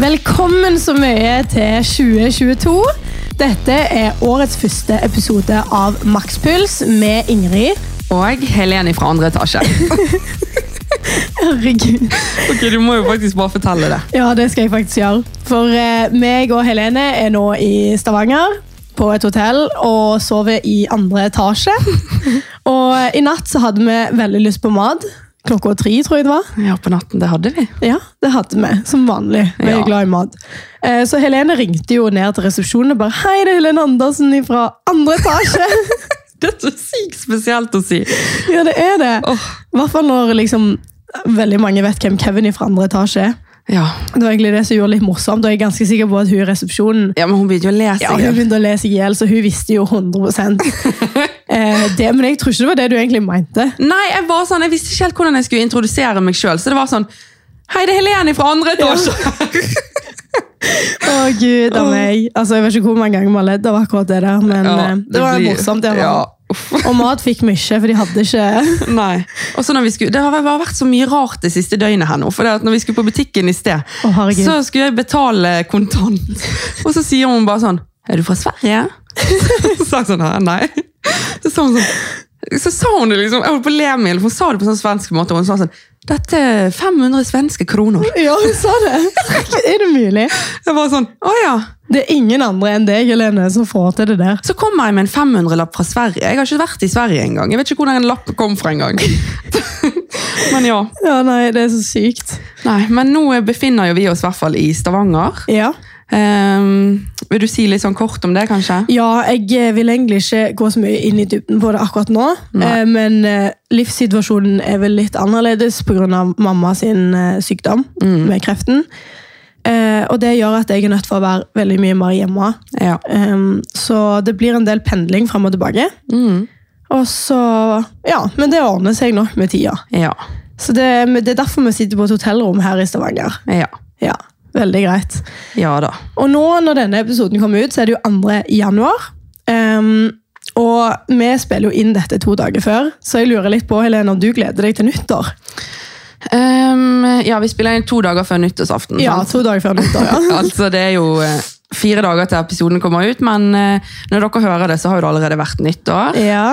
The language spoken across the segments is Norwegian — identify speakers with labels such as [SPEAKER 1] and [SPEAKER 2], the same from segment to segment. [SPEAKER 1] Velkommen så mye til 2022. Dette er årets første episode av Makspuls med Ingrid.
[SPEAKER 2] Og Helene fra andre etasje.
[SPEAKER 1] Herregud.
[SPEAKER 2] Ok, Du må jo faktisk bare fortelle det.
[SPEAKER 1] Ja, det skal jeg faktisk gjøre. For eh, meg og Helene er nå i Stavanger på et hotell og sover i andre etasje. Og i natt så hadde vi veldig lyst på mat. Klokka tre, tror jeg det var.
[SPEAKER 2] Ja, på natten. Det hadde vi.
[SPEAKER 1] Ja, det hadde vi, som vanlig. Vi er
[SPEAKER 2] Ja.
[SPEAKER 1] glad i mat. Eh, Så Helene ringte jo ned til resepsjonen og bare Hei, det er Helene Andersen fra andre etasje.
[SPEAKER 2] Det er så sykt spesielt å si.
[SPEAKER 1] ja, det er det.
[SPEAKER 2] Åh.
[SPEAKER 1] I hvert fall når liksom veldig mange vet hvem Kevin fra andre etasje er.
[SPEAKER 2] Ja.
[SPEAKER 1] Det var egentlig det som gjorde det litt morsomt, og jeg er ganske sikker på at hun i resepsjonen
[SPEAKER 2] ja, men hun begynte jo å lese.
[SPEAKER 1] ja, hun
[SPEAKER 2] igjen.
[SPEAKER 1] begynte å lese i hjel, så hun visste jo 100 eh, det, Men jeg tror ikke det var det du egentlig mente.
[SPEAKER 2] Nei, jeg var sånn, jeg visste ikke helt hvordan jeg skulle introdusere meg sjøl. Så det var sånn Hei, det er Helene fra andre etasje!
[SPEAKER 1] Å, gud av meg. Altså, Jeg vet ikke hvor mange ganger vi har ledd av akkurat det der, men eh, det, var
[SPEAKER 2] blir-
[SPEAKER 1] morsomt. i hvert
[SPEAKER 2] Ja.
[SPEAKER 1] fall.
[SPEAKER 2] Uff.
[SPEAKER 1] Og mat fikk vi ikke, for de hadde ikke
[SPEAKER 2] Nei. Og så når vi skulle, Det har bare vært så mye rart det siste døgnet her nå. For det at når vi skulle på butikken i sted,
[SPEAKER 1] Å, herregud.
[SPEAKER 2] så skulle jeg betale kontant. Og så sier hun bare sånn Er du fra Sverige? Så sa jeg sånn her, nei. Så sa hun sånn så sa hun det liksom, jeg holdt på å le meg, i hjel, for hun sa det på sånn svensk måte. Og hun sa sånn Dette er 500 svenske kroner.
[SPEAKER 1] Ja, hun sa det! Herregud, Er det mulig?
[SPEAKER 2] Jeg var sånn, å ja.
[SPEAKER 1] Det er ingen andre enn deg Helene, som får til det der.
[SPEAKER 2] Så kommer jeg med en 500-lapp fra Sverige. Jeg har ikke vært i Sverige engang. Jeg vet ikke hvordan en lapp kom fra engang. Men ja.
[SPEAKER 1] Ja, nei, Det er så sykt.
[SPEAKER 2] Nei, men nå befinner jo vi oss i hvert fall i Stavanger.
[SPEAKER 1] Ja,
[SPEAKER 2] Ehm, vil du si litt sånn kort om det, kanskje?
[SPEAKER 1] ja jeg eh, vil egentlig ikke gå så mye inn i dybden på det akkurat nå,
[SPEAKER 2] Nei.
[SPEAKER 1] eh, men eh, livssituasjonen er vel litt annerledes pga. mamma sin eh, sykdom med kreften. Eh, og det gjør at jeg er nødt for å være veldig mye mer hjemme.
[SPEAKER 2] Ja.
[SPEAKER 1] Ehm, så det blir en del pendling fram og tilbake.
[SPEAKER 2] Mm.
[SPEAKER 1] Og så, ja, Men det ordner seg nok med tida.
[SPEAKER 2] Ja.
[SPEAKER 1] Så det, men det er derfor vi sitter på et hotellrom her i Stavanger.
[SPEAKER 2] ja.
[SPEAKER 1] Ja, Veldig greit.
[SPEAKER 2] Ja da.
[SPEAKER 1] Og nå når denne episoden kommer ut, så er det jo 2. januar. Ehm, og vi spiller jo inn dette to dager før, så jeg lurer litt på Helene, om du gleder deg til nyttår?
[SPEAKER 2] Ehm, ja, vi spiller inn to dager før nyttårsaften.
[SPEAKER 1] Ja,
[SPEAKER 2] sant?
[SPEAKER 1] to dager før nyttår, ja.
[SPEAKER 2] altså, det er jo eh, fire dager til episoden kommer ut, men eh, når dere hører det, så har jo det allerede vært nyttår.
[SPEAKER 1] ja.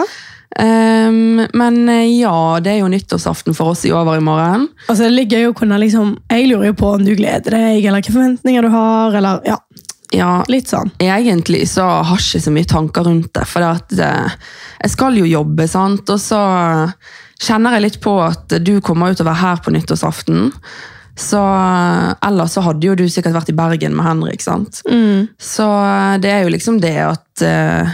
[SPEAKER 2] Ehm, men eh, ja, det er jo nyttårsaften for oss i over i morgen.
[SPEAKER 1] Og så er det litt gøy å kunne liksom Jeg lurer jo på om du gleder deg, eller hvilke forventninger du har, eller ja,
[SPEAKER 2] Ja,
[SPEAKER 1] litt sånn.
[SPEAKER 2] egentlig så har jeg ikke så mye tanker rundt det, for det at eh, jeg skal jo jobbe, sant? Og så kjenner jeg litt på at du kommer ut og er her på nyttårsaften. Så eh, ellers så hadde jo du sikkert vært i Bergen med Henrik, sant? Så eh, det er jo liksom det at eh,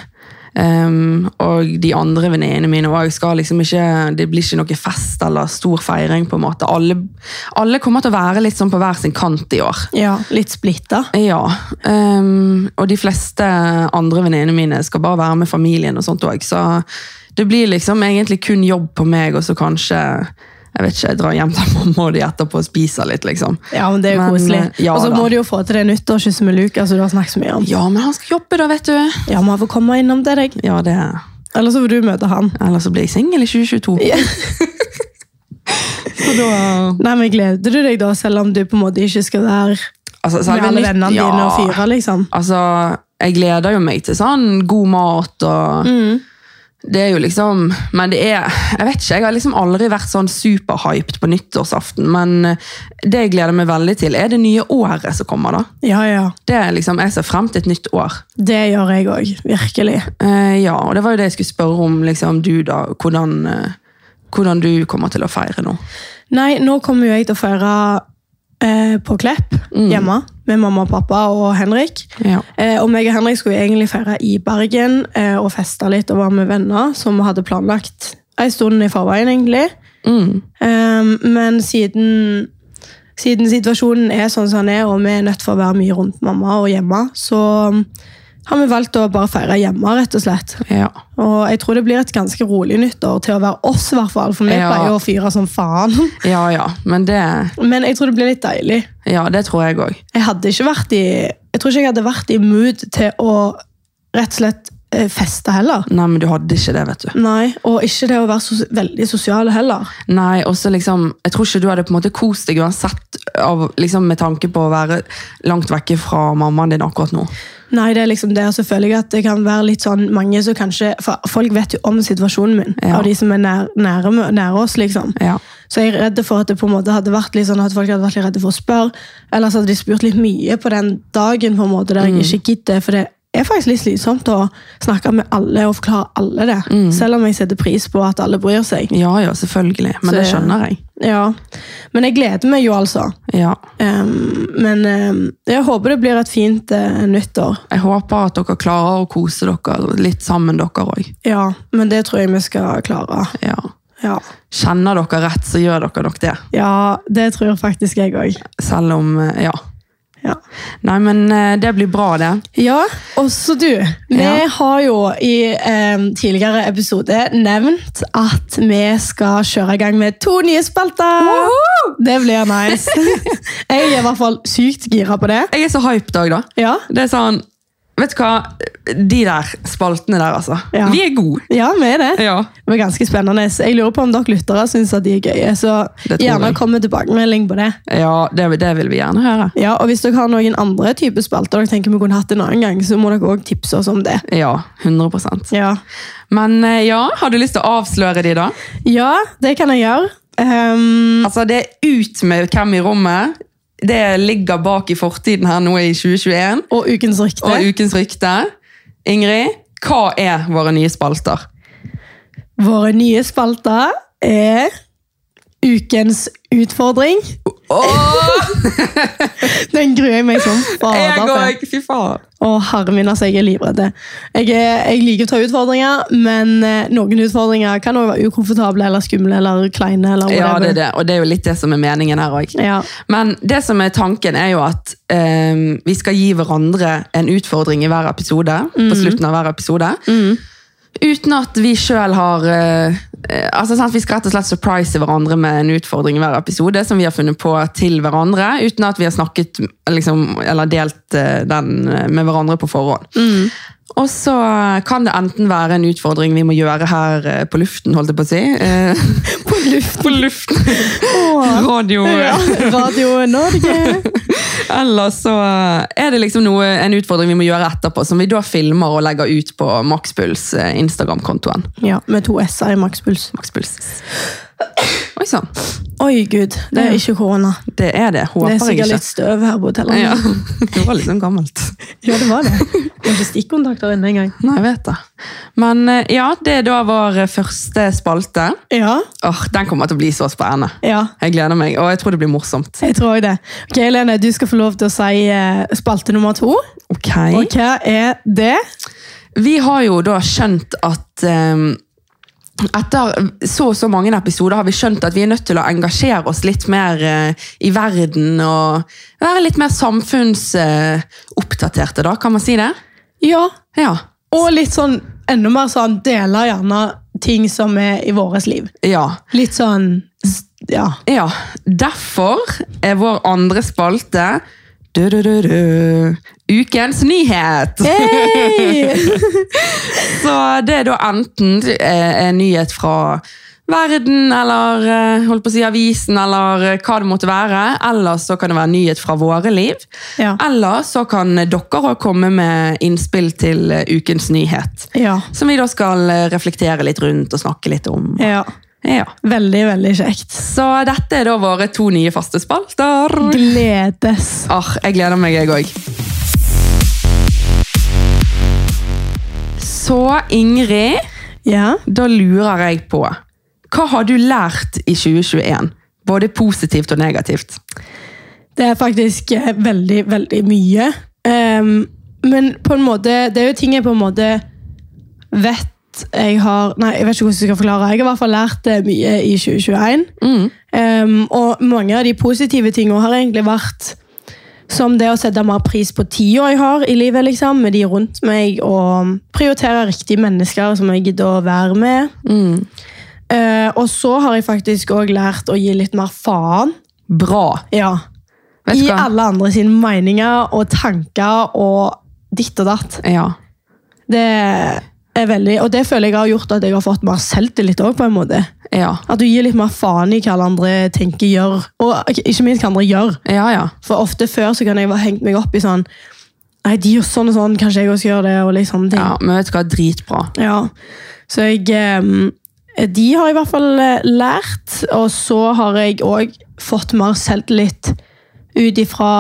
[SPEAKER 2] em, og de andre venninnene mine også skal liksom ikke Det blir ikke noe fest eller stor feiring, på en måte. Alle, alle kommer til å være litt sånn på hver sin kant i år.
[SPEAKER 1] Ja, litt splitta.
[SPEAKER 2] Ja, ehm, og de fleste andre venninnene mine skal bare være med familien og sånt også, så det blir liksom egentlig kun jobb på meg, og så kanskje, jeg vet ikke, jeg drar hjem til mamma og de etterpå og spiser litt, liksom.
[SPEAKER 1] Ja, men det er jo
[SPEAKER 2] Men,
[SPEAKER 1] koselig.
[SPEAKER 2] eh, ja
[SPEAKER 1] og så
[SPEAKER 2] da.
[SPEAKER 1] må du jo få til det nyttårskysset med Lukas, som du har snakket så mye om.
[SPEAKER 2] Ja, men han skal jobbe da, vet du.
[SPEAKER 1] Ja, må jeg få komme innom til deg.
[SPEAKER 2] Ja, det
[SPEAKER 1] Eller så får du møte han.
[SPEAKER 2] Ellers så blir jeg single i 2022.
[SPEAKER 1] Ja.
[SPEAKER 2] Så da...
[SPEAKER 1] Nei, men Gleder du deg, da, selv om du på en måte ikke skal være
[SPEAKER 2] Altså,
[SPEAKER 1] med alle vennene dine og fyre? liksom?
[SPEAKER 2] Altså, jeg gleder jo meg til sånn god mat og Det er jo liksom Men det er Jeg vet ikke, jeg har liksom aldri vært sånn superhyped på nyttårsaften, men det jeg gleder meg veldig til, er det nye året som kommer, da.
[SPEAKER 1] Ja, ja.
[SPEAKER 2] Det er liksom, Jeg ser frem til et nytt år.
[SPEAKER 1] Det gjør jeg òg. Virkelig.
[SPEAKER 2] Eh, ja, og det var jo det jeg skulle spørre om, liksom, du, da. Hvordan, eh, hvordan du kommer til å feire nå.
[SPEAKER 1] Nei, nå kommer jo jeg til å feire eh, på Klepp hjemme med mamma og pappa og Henrik.
[SPEAKER 2] Ja.
[SPEAKER 1] Eh, og meg og Henrik skulle jo egentlig feire i Bergen eh, og feste litt og være med venner, som vi hadde planlagt en stund i forveien, egentlig.
[SPEAKER 2] Mm.
[SPEAKER 1] Um, men siden, siden situasjonen er sånn som den er, og vi er nødt for å være mye rundt mamma og hjemme, så um, har vi valgt å bare feire hjemme, rett og slett.
[SPEAKER 2] ja.
[SPEAKER 1] Og jeg tror det blir et ganske rolig nyttår til å være oss, i hvert fall. For vi
[SPEAKER 2] Ja.
[SPEAKER 1] pleier jo å fyre som faen.
[SPEAKER 2] Ja ja. Men det
[SPEAKER 1] Men jeg tror det blir litt deilig.
[SPEAKER 2] Ja, det tror jeg òg.
[SPEAKER 1] Jeg hadde ikke vært i Jeg tror ikke jeg hadde vært i mood til å rett og slett eh, feste heller.
[SPEAKER 2] Nei, men du hadde ikke det, vet du.
[SPEAKER 1] Nei, og ikke det å være sos veldig sosial heller.
[SPEAKER 2] Nei, også liksom, Jeg tror ikke du hadde på en måte kost deg uansett av, liksom, med tanke på å være langt vekke fra mammaen din akkurat nå.
[SPEAKER 1] Nei, det er liksom det, og så føler jeg at det kan være litt sånn mange som kanskje For folk vet jo om situasjonen min,
[SPEAKER 2] Ja.
[SPEAKER 1] av de som er nær, nære, mø- nære oss, liksom.
[SPEAKER 2] Ja,
[SPEAKER 1] Så jeg er redd for at det på en måte hadde vært litt sånn at folk hadde vært litt redde for å spørre. Eller så hadde de spurt litt mye på den dagen på en måte der jeg ikke gidder. For det er faktisk litt slitsomt å snakke med alle og forklare alle det. Selv om jeg setter pris på at alle bryr seg.
[SPEAKER 2] ja, ja selvfølgelig. Men
[SPEAKER 1] Så-
[SPEAKER 2] det skjønner jeg.
[SPEAKER 1] Ja, Men jeg gleder meg jo, altså.
[SPEAKER 2] Ja.
[SPEAKER 1] Ehm, men ehm, jeg håper det blir et fint eh, nyttår.
[SPEAKER 2] Jeg håper at dere klarer å kose dere litt sammen, dere òg.
[SPEAKER 1] Ja, men det tror jeg vi skal klare.
[SPEAKER 2] Ja.
[SPEAKER 1] Ja,
[SPEAKER 2] Kjenner dere rett, så gjør dere nok det.
[SPEAKER 1] ja det tror faktisk jeg òg.
[SPEAKER 2] Selv om eh, Ja.
[SPEAKER 1] Ja.
[SPEAKER 2] Nei, men eh, det blir bra, det.
[SPEAKER 1] Ja, også du. Vi
[SPEAKER 2] Ja.
[SPEAKER 1] har jo i em, tidligere episode nevnt at vi skal kjøre i gang med to nye spalter. Det blir nice. Jeg er i hvert fall sykt gira på det.
[SPEAKER 2] Jeg er så hyped òg, da.
[SPEAKER 1] Ja,
[SPEAKER 2] Det er sånn Vet du hva? De der spaltene der, altså.
[SPEAKER 1] Ja.
[SPEAKER 2] Vi er gode.
[SPEAKER 1] ja vi er det.
[SPEAKER 2] Ja.
[SPEAKER 1] Det var ganske spennende. Jeg lurer på om dere lyttere syns at de er gøye. Så
[SPEAKER 2] Det tror
[SPEAKER 1] gjerne
[SPEAKER 2] jeg.
[SPEAKER 1] kom med tilbakemelding på det.
[SPEAKER 2] Ja, det, det vil vi gjerne høre.
[SPEAKER 1] Ja, og Hvis dere har noen andre typer spalter dere tenker vi kunne hatt en annen gang, så må dere også tipse oss om det.
[SPEAKER 2] Ja, 100
[SPEAKER 1] Ja,
[SPEAKER 2] Men eh, ja, har du lyst til å avsløre de da?
[SPEAKER 1] ja det kan jeg gjøre. Ehm, Em,
[SPEAKER 2] Altså, det er ut med hvem i rommet. Det ligger bak i fortiden her nå i 2021.
[SPEAKER 1] og ukens rykte.
[SPEAKER 2] Og ukens rykte. Ingrid, hva er våre nye spalter?
[SPEAKER 1] Våre nye spalter er Ukens utfordring.
[SPEAKER 2] Åh,
[SPEAKER 1] Den gruer jeg meg som
[SPEAKER 2] jeg
[SPEAKER 1] fader til.
[SPEAKER 2] òg! Fy faen.
[SPEAKER 1] Å, herre min, altså, jeg er livredd. Jeg, er- jeg liker å ta utfordringer, men eh, noen utfordringer kan også være ukomfortable eller skumle eller kleine. eller
[SPEAKER 2] Ja, det er
[SPEAKER 1] whatever.
[SPEAKER 2] det. Og det er jo litt det som er meningen her òg.
[SPEAKER 1] Ja.
[SPEAKER 2] Men det som er tanken er jo at eh, vi skal gi hverandre en utfordring i hver episode. På slutten av hver episode. Uten at vi sjøl har eh, eh, altså sant, Vi skal rett og slett surprise hverandre med en utfordring i hver episode som vi har funnet på til hverandre, uten at vi har snakket liksom, eller delt eh, den eh, med hverandre på forhånd. Og så kan det enten være en utfordring vi må gjøre her eh, på luften, holdt jeg på å si. eh,
[SPEAKER 1] På luft.
[SPEAKER 2] på luften!
[SPEAKER 1] Åh.
[SPEAKER 2] Radio.
[SPEAKER 1] Ja, Radio Norge.
[SPEAKER 2] Eller så er det liksom noe, en utfordring vi må gjøre etterpå, som vi da filmer og legger ut på Maxpuls eh, Instagram-kontoen.
[SPEAKER 1] Ja, Med to s-er i makspuls.
[SPEAKER 2] Maxpuls. Oi sann.
[SPEAKER 1] Oi, gud. Det er ikke korona.
[SPEAKER 2] Det er det. Håper
[SPEAKER 1] Det er
[SPEAKER 2] jeg
[SPEAKER 1] sikkert
[SPEAKER 2] ikke.
[SPEAKER 1] litt sånn. støv her på hotellet.
[SPEAKER 2] Ja. Det var litt sånn gammelt.
[SPEAKER 1] Ja, det var det. Det var ikke stikkontakter inne engang.
[SPEAKER 2] Nei, jeg vet det. Men eh, ja, det er da vår eh, første spalte.
[SPEAKER 1] Ja.
[SPEAKER 2] Åh, Den kommer til å bli så spennende.
[SPEAKER 1] ja.
[SPEAKER 2] Jeg gleder meg, og jeg tror det blir morsomt.
[SPEAKER 1] Jeg tror også det. Ok, Lene, du skal få lov til å si eh, spalte nummer to.
[SPEAKER 2] Ok.
[SPEAKER 1] Og hva er det?
[SPEAKER 2] Vi har jo da skjønt at eh, etter så og så mange episoder har vi skjønt at vi er nødt til å engasjere oss litt mer eh, i verden og være litt mer samfunnsoppdaterte, da. Kan man si det?
[SPEAKER 1] Ja.
[SPEAKER 2] Ja.
[SPEAKER 1] Og litt sånn, enda mer sånn, deler gjerne ting som er i våres liv.
[SPEAKER 2] ja.
[SPEAKER 1] Litt sånn, s- ja.
[SPEAKER 2] Ja, derfor er vår andre spalte du, du, du, du, Ukens nyhet!
[SPEAKER 1] Hey!
[SPEAKER 2] Så det er da enten eh, en nyhet fra verden, eller eh, holdt på å si avisen, eller eh, hva det måtte være. Eller så kan det være nyhet fra våre liv.
[SPEAKER 1] Ja.
[SPEAKER 2] Eller så kan dere også komme med innspill til eh, ukens nyhet.
[SPEAKER 1] Ja.
[SPEAKER 2] Som vi da skal eh, reflektere litt rundt og snakke litt om.
[SPEAKER 1] ja.
[SPEAKER 2] Ja.
[SPEAKER 1] Veldig, veldig kjekt.
[SPEAKER 2] Så dette er da våre to nye faste spalter.
[SPEAKER 1] Gledes.
[SPEAKER 2] Arr, jeg gleder meg, jeg òg. Så Ingrid,
[SPEAKER 1] Ja.
[SPEAKER 2] da lurer jeg på Hva har du lært i 2021? Både positivt og negativt.
[SPEAKER 1] Det er faktisk eh, veldig, veldig mye. Ehm, men på en måte, det er jo ting jeg på en måte vet jeg har Nei, jeg vet ikke hvordan jeg skal forklare. Jeg har i hvert fall lært eh, mye i 2021. Ehm, og mange av de positive tingene har egentlig vært som det å sette mer pris på tida jeg har i livet, liksom, med de rundt meg, og prioritere riktige mennesker som jeg gidder å være med. Eh, og så har jeg faktisk òg lært å gi litt mer faen.
[SPEAKER 2] Bra.
[SPEAKER 1] Ja.
[SPEAKER 2] Vet du
[SPEAKER 1] I
[SPEAKER 2] hva?
[SPEAKER 1] alle andre sine meninger og tanker og ditt og datt.
[SPEAKER 2] Ja.
[SPEAKER 1] Det er veldig, og det føler jeg har gjort at jeg har fått mer selvtillit òg, på en måte.
[SPEAKER 2] Ja,
[SPEAKER 1] At du gir litt mer faen i hva alle andre tenker, gjør, og ikke- ikke minst hva andre gjør.
[SPEAKER 2] ja. ja.
[SPEAKER 1] For ofte før så kan jeg ha hengt meg opp i sånn Nei, de gjør sånn og sånn, kanskje jeg også skal gjøre det, og litt sånne ting.
[SPEAKER 2] ja men vet du hva, dritbra.
[SPEAKER 1] Ja, så jeg eh, De har jeg i hvert fall eh, lært, og så har jeg òg fått mer selvtillit ut ifra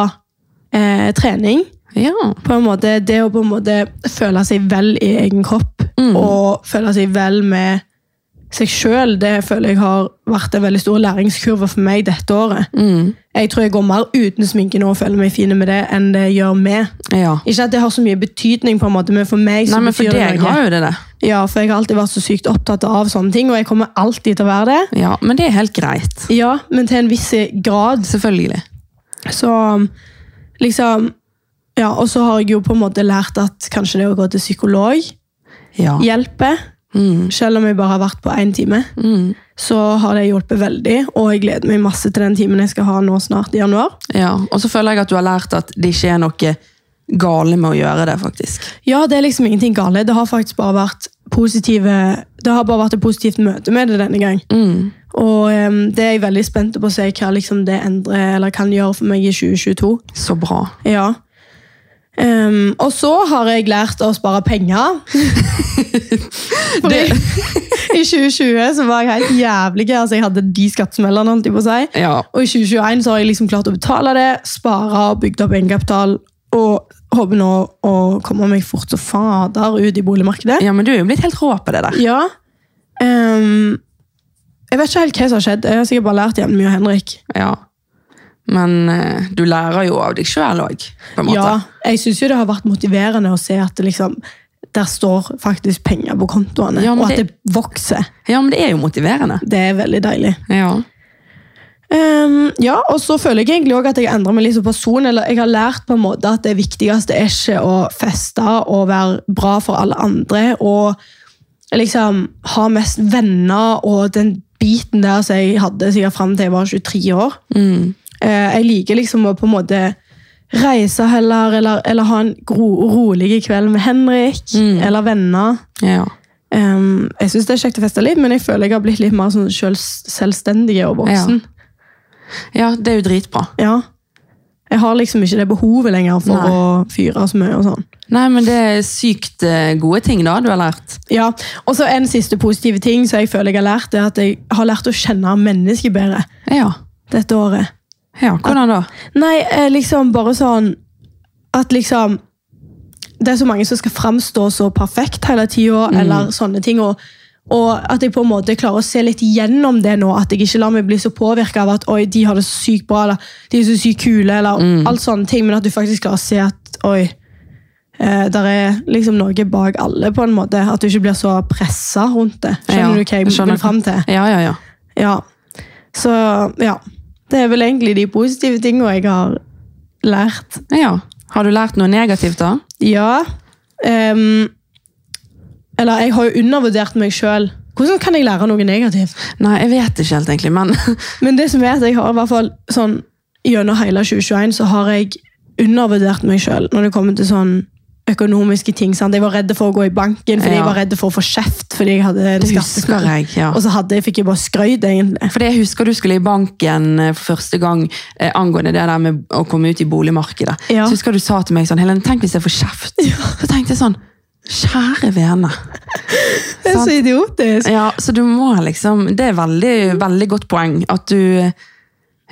[SPEAKER 1] eh, trening.
[SPEAKER 2] Ja.
[SPEAKER 1] På en måte, det å på en måte føle seg vel i egen kropp
[SPEAKER 2] Mm.
[SPEAKER 1] og føle seg vel med seg sjøl, det føler jeg har vært en veldig stor læringskurve for meg dette året.
[SPEAKER 2] Mm.
[SPEAKER 1] Jeg tror jeg går mer uten sminke nå og føler meg fin med det, enn det gjør med.
[SPEAKER 2] ja.
[SPEAKER 1] Ikke at det har så mye betydning, på en måte, men for meg så
[SPEAKER 2] Nei, men for
[SPEAKER 1] betyr det
[SPEAKER 2] deg
[SPEAKER 1] noe.
[SPEAKER 2] har jo det det.
[SPEAKER 1] Ja, for jeg har alltid vært så sykt opptatt av sånne ting, og jeg kommer alltid til å være det.
[SPEAKER 2] Ja, men det er helt greit.
[SPEAKER 1] Ja, men til en viss grad.
[SPEAKER 2] Selvfølgelig.
[SPEAKER 1] Så liksom Ja, og så har jeg jo på en måte lært at kanskje det å gå til psykolog
[SPEAKER 2] Ja.
[SPEAKER 1] hjelper.
[SPEAKER 2] Mm.
[SPEAKER 1] Selv om jeg bare har vært på én time,
[SPEAKER 2] Mm.
[SPEAKER 1] så har det hjulpet veldig. Og jeg gleder meg masse til den timen jeg skal ha nå snart i januar.
[SPEAKER 2] ja. Og så føler jeg at du har lært at det ikke er noe gale med å gjøre det, faktisk.
[SPEAKER 1] Ja, det er liksom ingenting galt. Det har faktisk bare vært positive Det har bare vært et positivt møte med det denne gang.
[SPEAKER 2] Mm.
[SPEAKER 1] Og em, det er jeg veldig spent på å se hva liksom, det endrer eller kan gjøre for meg i 2022.
[SPEAKER 2] Så bra.
[SPEAKER 1] Ja. Em, og så har jeg lært å spare penger. For i, I 2020 så var jeg helt jævlig. Altså, jeg hadde de skattesmellene. holdt jeg på å si.
[SPEAKER 2] Ja.
[SPEAKER 1] Og i 2021 så har jeg liksom klart å betale det, spare og bygd opp egenkapital. Og håper nå å komme meg fort som fader ut i boligmarkedet.
[SPEAKER 2] ja, men du er jo blitt helt rå på det der.
[SPEAKER 1] Ja. Em, jeg vet ikke helt hva som har skjedd. Jeg har sikkert bare lært igjen mye av Henrik.
[SPEAKER 2] Ja. Men eh, du lærer jo av deg sjøl òg, på en måte.
[SPEAKER 1] Ja, jeg syns jo det har vært motiverende å se at det liksom der står faktisk penger på kontoene,
[SPEAKER 2] Ja, men
[SPEAKER 1] og at det,
[SPEAKER 2] det-
[SPEAKER 1] vokser.
[SPEAKER 2] Ja, men det er jo motiverende.
[SPEAKER 1] Det er veldig deilig.
[SPEAKER 2] Ja.
[SPEAKER 1] Ehm, ja, og så føler jeg egentlig også at jeg har endret meg litt som person. eller Jeg har lært på en måte at det viktigste er ikke å feste og være bra for alle andre. Og liksom ha mest venner og den biten der som jeg hadde sikkert fram til jeg var 23 år.
[SPEAKER 2] Mm.
[SPEAKER 1] Eh, jeg liker liksom å på en måte reise heller, eller, eller ha en gro, rolig kveld med Henrik
[SPEAKER 2] Mm.
[SPEAKER 1] eller venner.
[SPEAKER 2] ja.
[SPEAKER 1] Ehm, jeg syns det er kjekt å feste litt, men jeg føler jeg har blitt litt mer sånn selv, selvstendig og voksen.
[SPEAKER 2] Ja, det er jo dritbra.
[SPEAKER 1] Ja. Jeg har liksom ikke det behovet lenger for
[SPEAKER 2] Nei.
[SPEAKER 1] å fyre så mye og sånn.
[SPEAKER 2] Nei, men det er sykt eh, gode ting da du har lært.
[SPEAKER 1] Ja, og så En siste positive ting som jeg føler jeg har lært, er at jeg har lært å kjenne mennesket bedre
[SPEAKER 2] Ja.
[SPEAKER 1] dette året.
[SPEAKER 2] ja hvordan da?
[SPEAKER 1] Nei, eh, liksom bare sånn At liksom Det er så mange som skal framstå så perfekt hele tida,
[SPEAKER 2] Mm.
[SPEAKER 1] eller sånne ting. og og at jeg på en måte klarer å se litt gjennom det nå. At jeg ikke lar meg bli så påvirka av at oi, de har det så sykt bra, eller de er så sykt kule, eller
[SPEAKER 2] Mm.
[SPEAKER 1] alt sånne ting. Men at du faktisk klarer å se at oi, eh, der er liksom noe bak alle, på en måte. At du ikke blir så pressa rundt det.
[SPEAKER 2] Ja,
[SPEAKER 1] Skjønner du hva
[SPEAKER 2] jeg
[SPEAKER 1] jeg,
[SPEAKER 2] skjønner.
[SPEAKER 1] vil fram til?
[SPEAKER 2] Ja, ja, ja.
[SPEAKER 1] Ja. Så ja. Det er vel egentlig de positive tingene jeg har lært.
[SPEAKER 2] ja. Har du lært noe negativt da?
[SPEAKER 1] Ja. ehm, eller jeg har jo undervurdert meg sjøl. Hvordan kan jeg lære noe negativt?
[SPEAKER 2] Nei, jeg vet ikke helt egentlig, men
[SPEAKER 1] Men det som er at jeg har i hvert fall sånn gjennom hele 2021 så har jeg undervurdert meg sjøl når det kommer til sånn økonomiske ting. Sant? Jeg var redd for å gå i banken fordi
[SPEAKER 2] Ja.
[SPEAKER 1] jeg var redd for å få kjeft fordi jeg hadde en
[SPEAKER 2] husker
[SPEAKER 1] skattesmell.
[SPEAKER 2] jeg, ja.
[SPEAKER 1] Og så hadde, jeg- fikk jeg bare skrøyt, egentlig.
[SPEAKER 2] For det jeg husker du skulle i banken eh, for første gang eh, angående det der med å komme ut i boligmarkedet.
[SPEAKER 1] Ja.
[SPEAKER 2] Så husker du sa til meg sånn, Helen, tenk hvis jeg får kjeft. Så tenkte jeg sånn, kjære vene.
[SPEAKER 1] Det er så idiotisk.
[SPEAKER 2] Ja, så du må liksom, det er veldig, veldig godt poeng at du,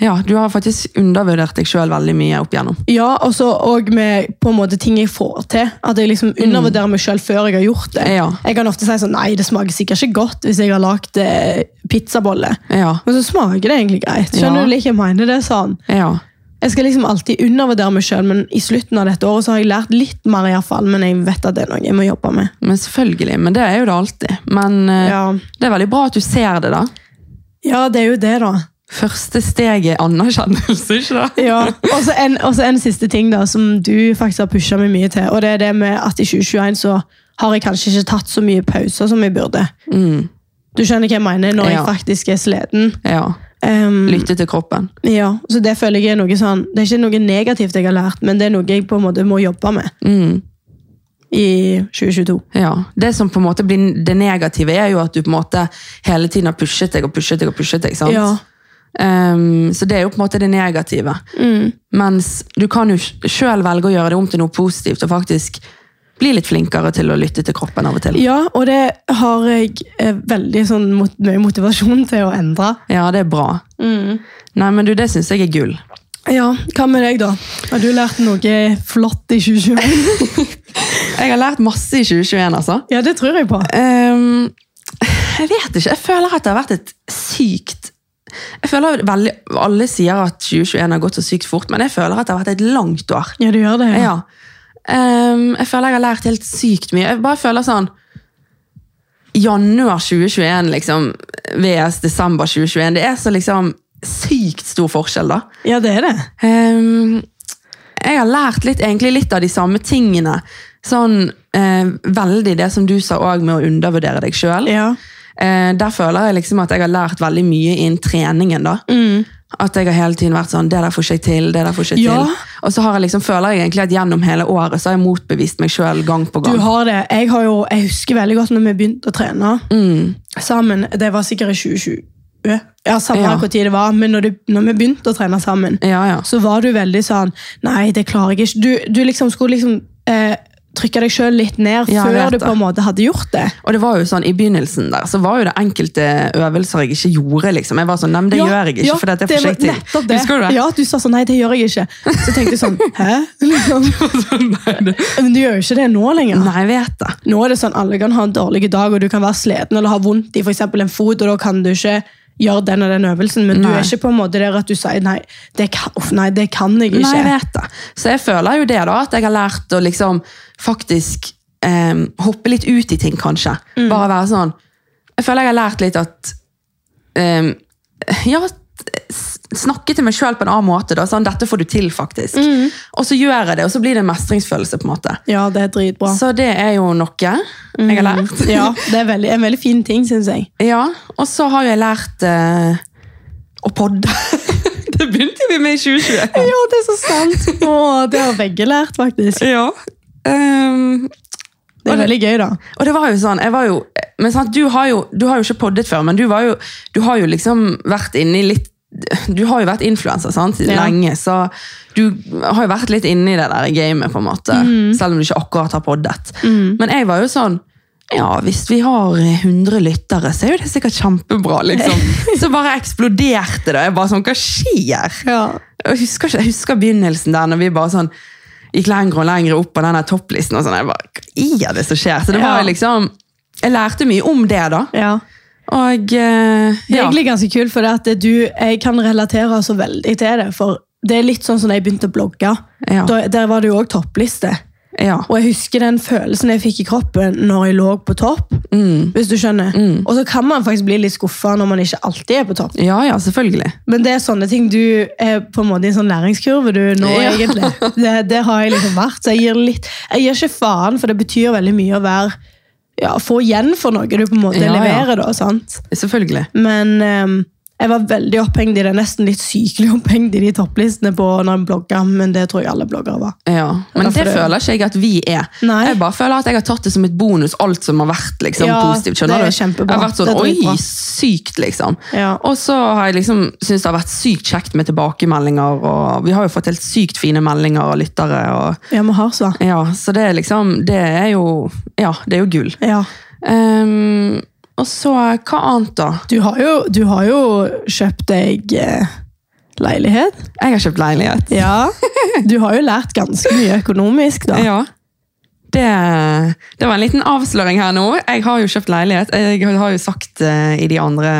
[SPEAKER 2] ja, du har faktisk undervurdert deg selv veldig mye opp igjennom.
[SPEAKER 1] Ja, og så og med på en måte ting jeg får til. At jeg liksom undervurderer meg sjøl før jeg har gjort det.
[SPEAKER 2] Mm. Ja.
[SPEAKER 1] Jeg kan ofte si sånn Nei, det smaker sikkert ikke godt hvis jeg har lagd eh, pizzabolle.
[SPEAKER 2] Ja,
[SPEAKER 1] Men så smaker det egentlig greit.
[SPEAKER 2] Ja.
[SPEAKER 1] Skjønner du like jeg mener det er sånn?
[SPEAKER 2] ja,
[SPEAKER 1] Jeg skal liksom alltid undervurdere meg sjøl, men i slutten av dette året så har jeg lært litt mer, i hvert fall, men jeg vet at det er noe jeg må jobbe med.
[SPEAKER 2] men selvfølgelig, men det er jo det alltid. Men eh,
[SPEAKER 1] Ja,
[SPEAKER 2] det er veldig bra at du ser det da.
[SPEAKER 1] ja det er jo det, da.
[SPEAKER 2] Første steg er anerkjennelse, ikke da?
[SPEAKER 1] Ja, Og så en, og så en siste ting da, som du faktisk har pusha meg mye til. og det er det med at I 2021 så har jeg kanskje ikke tatt så mye pauser som jeg burde. Du skjønner hva jeg mener når
[SPEAKER 2] Ja.
[SPEAKER 1] jeg faktisk er sliten.
[SPEAKER 2] Ja,
[SPEAKER 1] Ehm,
[SPEAKER 2] lytte til kroppen.
[SPEAKER 1] ja, så Det føler jeg er noe sånn, det er ikke noe negativt jeg har lært, men det er noe jeg på en måte må jobbe med. i 2022.
[SPEAKER 2] Ja, Det som på en måte blir det negative, er jo at du på en måte hele tiden har pushet deg og pushet deg. og pushet deg, sant?
[SPEAKER 1] Ja.
[SPEAKER 2] Ehm, så det er jo på en måte det negative. Mens du kan jo sjøl velge å gjøre det om til noe positivt og faktisk bli litt flinkere til å lytte til kroppen av og til.
[SPEAKER 1] Ja, og det har jeg eh, veldig sånn mot, mye motivasjon til å endre.
[SPEAKER 2] Ja, det er bra. Nei, men du, det syns jeg er gull.
[SPEAKER 1] Ja, hva med deg da? Har du lært noe flott i 2021?
[SPEAKER 2] Jeg har lært masse i 2021, altså.
[SPEAKER 1] Ja, det tror jeg på.
[SPEAKER 2] Ehm, jeg vet ikke. Jeg føler at det har vært et sykt jeg føler veldig, Alle sier at 2021 har gått så sykt fort, men jeg føler at det har vært et langt år.
[SPEAKER 1] Ja, du gjør det.
[SPEAKER 2] Ja. Ehm, jeg føler jeg har lært helt sykt mye. Jeg bare føler sånn Januar 2021 liksom, vs. desember 2021. Det er så liksom sykt stor forskjell, da.
[SPEAKER 1] Ja, det er det.
[SPEAKER 2] Ehm, jeg har lært litt, egentlig litt av de samme tingene. Sånn eh, veldig det som du sa òg, med å undervurdere deg sjøl.
[SPEAKER 1] Ja.
[SPEAKER 2] Eh, der føler jeg liksom at jeg har lært veldig mye innen treningen. da. At jeg har hele tiden vært sånn Det der får ikke jeg til. det der får ikke jeg
[SPEAKER 1] Mm. Ja.
[SPEAKER 2] til. Og så har jeg liksom, føler jeg egentlig at gjennom hele året så har jeg motbevist meg sjøl gang på
[SPEAKER 1] Du
[SPEAKER 2] gang.
[SPEAKER 1] har det. Jeg, har jo, jeg husker veldig godt når vi begynte å trene
[SPEAKER 2] Mm.
[SPEAKER 1] sammen. Det var sikkert i 2020. Ja, samme
[SPEAKER 2] Ja.
[SPEAKER 1] hvor tid det var, men når, du, når vi begynte å trene sammen,
[SPEAKER 2] Ja, ja.
[SPEAKER 1] så var du veldig sånn Nei, det klarer jeg ikke. Du, du liksom skulle liksom eh, trykke deg sjøl litt ned
[SPEAKER 2] Ja, jeg vet
[SPEAKER 1] før du
[SPEAKER 2] det.
[SPEAKER 1] på en måte hadde gjort det.
[SPEAKER 2] Og det var jo sånn, I begynnelsen der, så var jo det enkelte øvelser jeg ikke gjorde. liksom. Jeg var sånn, nei, men det
[SPEAKER 1] Ja,
[SPEAKER 2] gjør jeg ikke,
[SPEAKER 1] ja,
[SPEAKER 2] for dette er
[SPEAKER 1] var
[SPEAKER 2] forsiktig.
[SPEAKER 1] nettopp det.
[SPEAKER 2] Husker du det?
[SPEAKER 1] Ja, du sa sånn Nei, det gjør jeg ikke. Så tenkte jeg sånn Hæ? Liksom.
[SPEAKER 2] sånn, nei, det-
[SPEAKER 1] Men du gjør jo ikke det nå lenger.
[SPEAKER 2] Nei, jeg vet det.
[SPEAKER 1] Nå er det sånn alle kan ha en dårlig dag, og du kan være sliten eller ha vondt i for eksempel en fot, og da kan du ikke gjøre den og den øvelsen, men du er
[SPEAKER 2] Nei.
[SPEAKER 1] ikke på en måte der at du sier nei, det kan, uff, nei, det kan jeg
[SPEAKER 2] Nei,
[SPEAKER 1] ikke.
[SPEAKER 2] jeg vet det. Så jeg føler jo det da, at jeg har lært å liksom faktisk eh, hoppe litt ut i ting, kanskje. Bare være sånn. Jeg føler jeg har lært litt at eh, Ja, s- snakke til meg sjøl på en annen måte. da, sånn, Dette får du til, faktisk. Og så gjør jeg det, og så blir det en mestringsfølelse. på en måte.
[SPEAKER 1] Ja, det er dritbra. Mm.
[SPEAKER 2] Så det er jo noe jeg Sånn har lært.
[SPEAKER 1] Ja, det er veldig, en veldig fin ting, synes jeg.
[SPEAKER 2] Ja, og så har jeg lært eh, å podde. det begynte vi med i 2021.
[SPEAKER 1] Ja, det er så sant. Å, det har begge lært, faktisk.
[SPEAKER 2] Ja. Ehm,
[SPEAKER 1] Det er veldig gøy, da.
[SPEAKER 2] og det var jo sånn, jeg var jo, men sant, du, har jo, du har jo ikke poddet før, men du, var jo, du har jo liksom vært inne i litt Du har jo vært influenser sant,
[SPEAKER 1] Ja.
[SPEAKER 2] lenge, så du har jo vært litt inne i det der gamet, på en måte, selv om du ikke akkurat har poddet. Men jeg var jo sånn ja, hvis vi har 100 lyttere, så er jo det sikkert kjempebra, liksom. Så bare eksploderte det. Jeg bare sånn, hva skjer?
[SPEAKER 1] Ja.
[SPEAKER 2] Jeg husker, ikke, jeg husker begynnelsen der, når vi bare sånn gikk lengre og lengre opp på denne topplisten. og sånn, jeg bare, Hva er det som skjer? Så det var
[SPEAKER 1] Ja.
[SPEAKER 2] jo liksom, Jeg lærte mye om det, da. Og eh,
[SPEAKER 1] Det er
[SPEAKER 2] ja.
[SPEAKER 1] egentlig ganske kult, for det at du, jeg kan relatere så veldig til det. For det er litt sånn som da jeg begynte å blogge.
[SPEAKER 2] Ja.
[SPEAKER 1] Da, der var det jo òg toppliste.
[SPEAKER 2] ja.
[SPEAKER 1] Og jeg husker den følelsen jeg fikk i kroppen når jeg lå på topp.
[SPEAKER 2] Mm.
[SPEAKER 1] Hvis du skjønner. Og så kan man faktisk bli litt skuffa når man ikke alltid er på topp.
[SPEAKER 2] ja, ja, selvfølgelig.
[SPEAKER 1] Men det er sånne ting du er på en måte i en sånn læringskurve du nå,
[SPEAKER 2] Ja.
[SPEAKER 1] egentlig. Det, det har jeg liksom vært. Så jeg gir, litt, jeg gir ikke faen, for det betyr veldig mye å være ja, få igjen for noe du på en måte
[SPEAKER 2] Ja, ja.
[SPEAKER 1] leverer. da, sant?
[SPEAKER 2] Selvfølgelig.
[SPEAKER 1] Men ehm, jeg var veldig opphengt i det, nesten litt sykelig opphengt i de topplistene på når en blogga, men det tror jeg alle bloggere var.
[SPEAKER 2] Ja. Men
[SPEAKER 1] Derfor
[SPEAKER 2] det
[SPEAKER 1] det-
[SPEAKER 2] føler ikke jeg at vi er.
[SPEAKER 1] Nei.
[SPEAKER 2] Jeg bare føler at jeg har tatt det som et bonus, alt som har vært liksom,
[SPEAKER 1] Ja,
[SPEAKER 2] positivt.
[SPEAKER 1] det er
[SPEAKER 2] skjønner du?
[SPEAKER 1] kjempebra.
[SPEAKER 2] Jeg har vært sånn,
[SPEAKER 1] Det er dritbra.
[SPEAKER 2] oi, sykt, liksom.
[SPEAKER 1] Ja.
[SPEAKER 2] Og så har jeg liksom syntes det har vært sykt kjekt med tilbakemeldinger, og vi har jo fått helt sykt fine meldinger og lyttere. og...
[SPEAKER 1] Ja, vi har svar.
[SPEAKER 2] Ja, så det er liksom Det er jo Ja, det er jo gull.
[SPEAKER 1] Ja.
[SPEAKER 2] Ehm, og så Hva annet, da?
[SPEAKER 1] Du har jo, du har jo kjøpt deg eh, leilighet.
[SPEAKER 2] Jeg har kjøpt leilighet.
[SPEAKER 1] Ja. Du har jo lært ganske mye økonomisk, da.
[SPEAKER 2] Ja. Det, det var en liten avsløring her nå. Jeg har jo kjøpt leilighet. Jeg har jo sagt eh, i de andre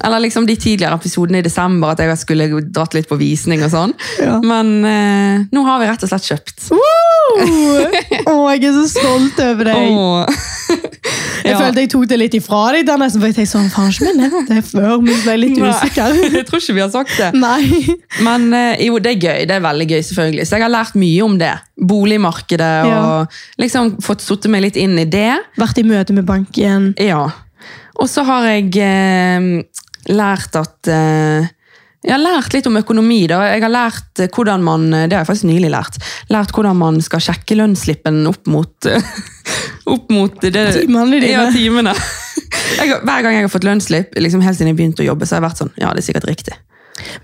[SPEAKER 2] Eller liksom de tidligere episodene i desember at jeg skulle dratt litt på visning og sånn.
[SPEAKER 1] Ja.
[SPEAKER 2] Men eh, nå har vi rett og slett kjøpt.
[SPEAKER 1] Woo! Å, jeg er så stolt over deg.
[SPEAKER 2] Og-
[SPEAKER 1] Jeg
[SPEAKER 2] Ja.
[SPEAKER 1] følte jeg tok det litt ifra deg der nesten, for jeg tenkte sånn, faen ikke min det er før, men jeg ble litt
[SPEAKER 2] Nei,
[SPEAKER 1] usikker.
[SPEAKER 2] Jeg tror ikke vi har sagt det.
[SPEAKER 1] Nei.
[SPEAKER 2] Men eh, jo, det er gøy. Det er veldig gøy, selvfølgelig. Så jeg har lært mye om det. Boligmarkedet og
[SPEAKER 1] Ja.
[SPEAKER 2] liksom fått sittet meg litt inn i det.
[SPEAKER 1] Vært i møte med banken.
[SPEAKER 2] Ja. Og så har jeg eh, lært at eh, Jeg har lært litt om økonomi. da. Jeg har lært eh, hvordan man det har jeg faktisk nylig lært, lært hvordan man skal sjekke lønnsslippen opp mot, eh, opp mot det,
[SPEAKER 1] Timene dine.
[SPEAKER 2] Ja, timene. Jeg, har- hver gang jeg har fått lønnsslipp, liksom helt siden jeg begynte å jobbe, så har jeg vært sånn Ja, det er sikkert riktig.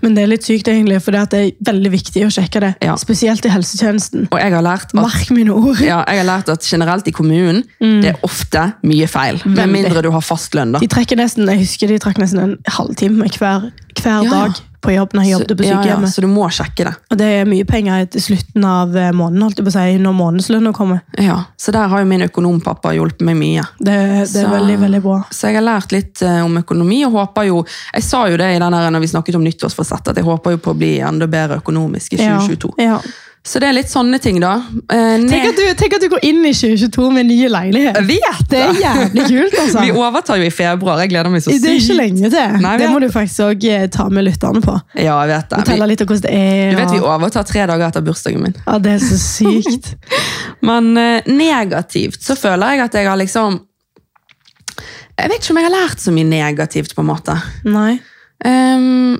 [SPEAKER 1] Men det er litt sykt, egentlig, for det at det er veldig viktig å sjekke det.
[SPEAKER 2] Ja.
[SPEAKER 1] Spesielt i helsetjenesten.
[SPEAKER 2] Og jeg har lært at,
[SPEAKER 1] Merk mine ord.
[SPEAKER 2] ja, jeg har lært at generelt i kommunen det er ofte mye feil. Med
[SPEAKER 1] Mm. Veldig.
[SPEAKER 2] mindre du har fast lønn, da.
[SPEAKER 1] De trekker nesten, jeg husker de trakk nesten en halvtime hver, hver
[SPEAKER 2] Ja.
[SPEAKER 1] dag på jobb når jeg jobbet på
[SPEAKER 2] Ja, ja,
[SPEAKER 1] sykehjemmet.
[SPEAKER 2] så du må sjekke det.
[SPEAKER 1] Og det er mye penger til slutten av eh, måneden, holdt jeg på å si, når månedslønna kommer.
[SPEAKER 2] Ja, Så der har jo min økonompappa hjulpet meg mye.
[SPEAKER 1] Det, det er
[SPEAKER 2] Så-
[SPEAKER 1] veldig, veldig bra.
[SPEAKER 2] Så jeg har lært litt eh, om økonomi, og håper jo Jeg sa jo det i den her, når vi snakket om nyttårsforsett, at jeg håper jo på å bli enda bedre økonomisk i
[SPEAKER 1] Ja,
[SPEAKER 2] 2022.
[SPEAKER 1] ja.
[SPEAKER 2] Så det er litt sånne ting, da. Eh, ned-
[SPEAKER 1] Tenk, at du, tenk at du går inn i 2022 med ny leilighet.
[SPEAKER 2] Jeg vet
[SPEAKER 1] Det er jævlig kult, altså.
[SPEAKER 2] Vi overtar jo i februar. Jeg gleder meg så
[SPEAKER 1] Det
[SPEAKER 2] sykt.
[SPEAKER 1] er ikke lenge til.
[SPEAKER 2] Nei, vi
[SPEAKER 1] det
[SPEAKER 2] vet
[SPEAKER 1] må du faktisk òg ta med lytterne på.
[SPEAKER 2] Ja, jeg vet det. Vi,
[SPEAKER 1] Fortelle litt om hvordan det er.
[SPEAKER 2] du vet vi
[SPEAKER 1] og-
[SPEAKER 2] overtar tre dager etter bursdagen min.
[SPEAKER 1] ja, det er så sykt.
[SPEAKER 2] Men eh, negativt så føler jeg at jeg har liksom Jeg vet ikke om jeg har lært så mye negativt, på en måte.
[SPEAKER 1] Nei.
[SPEAKER 2] Ehm,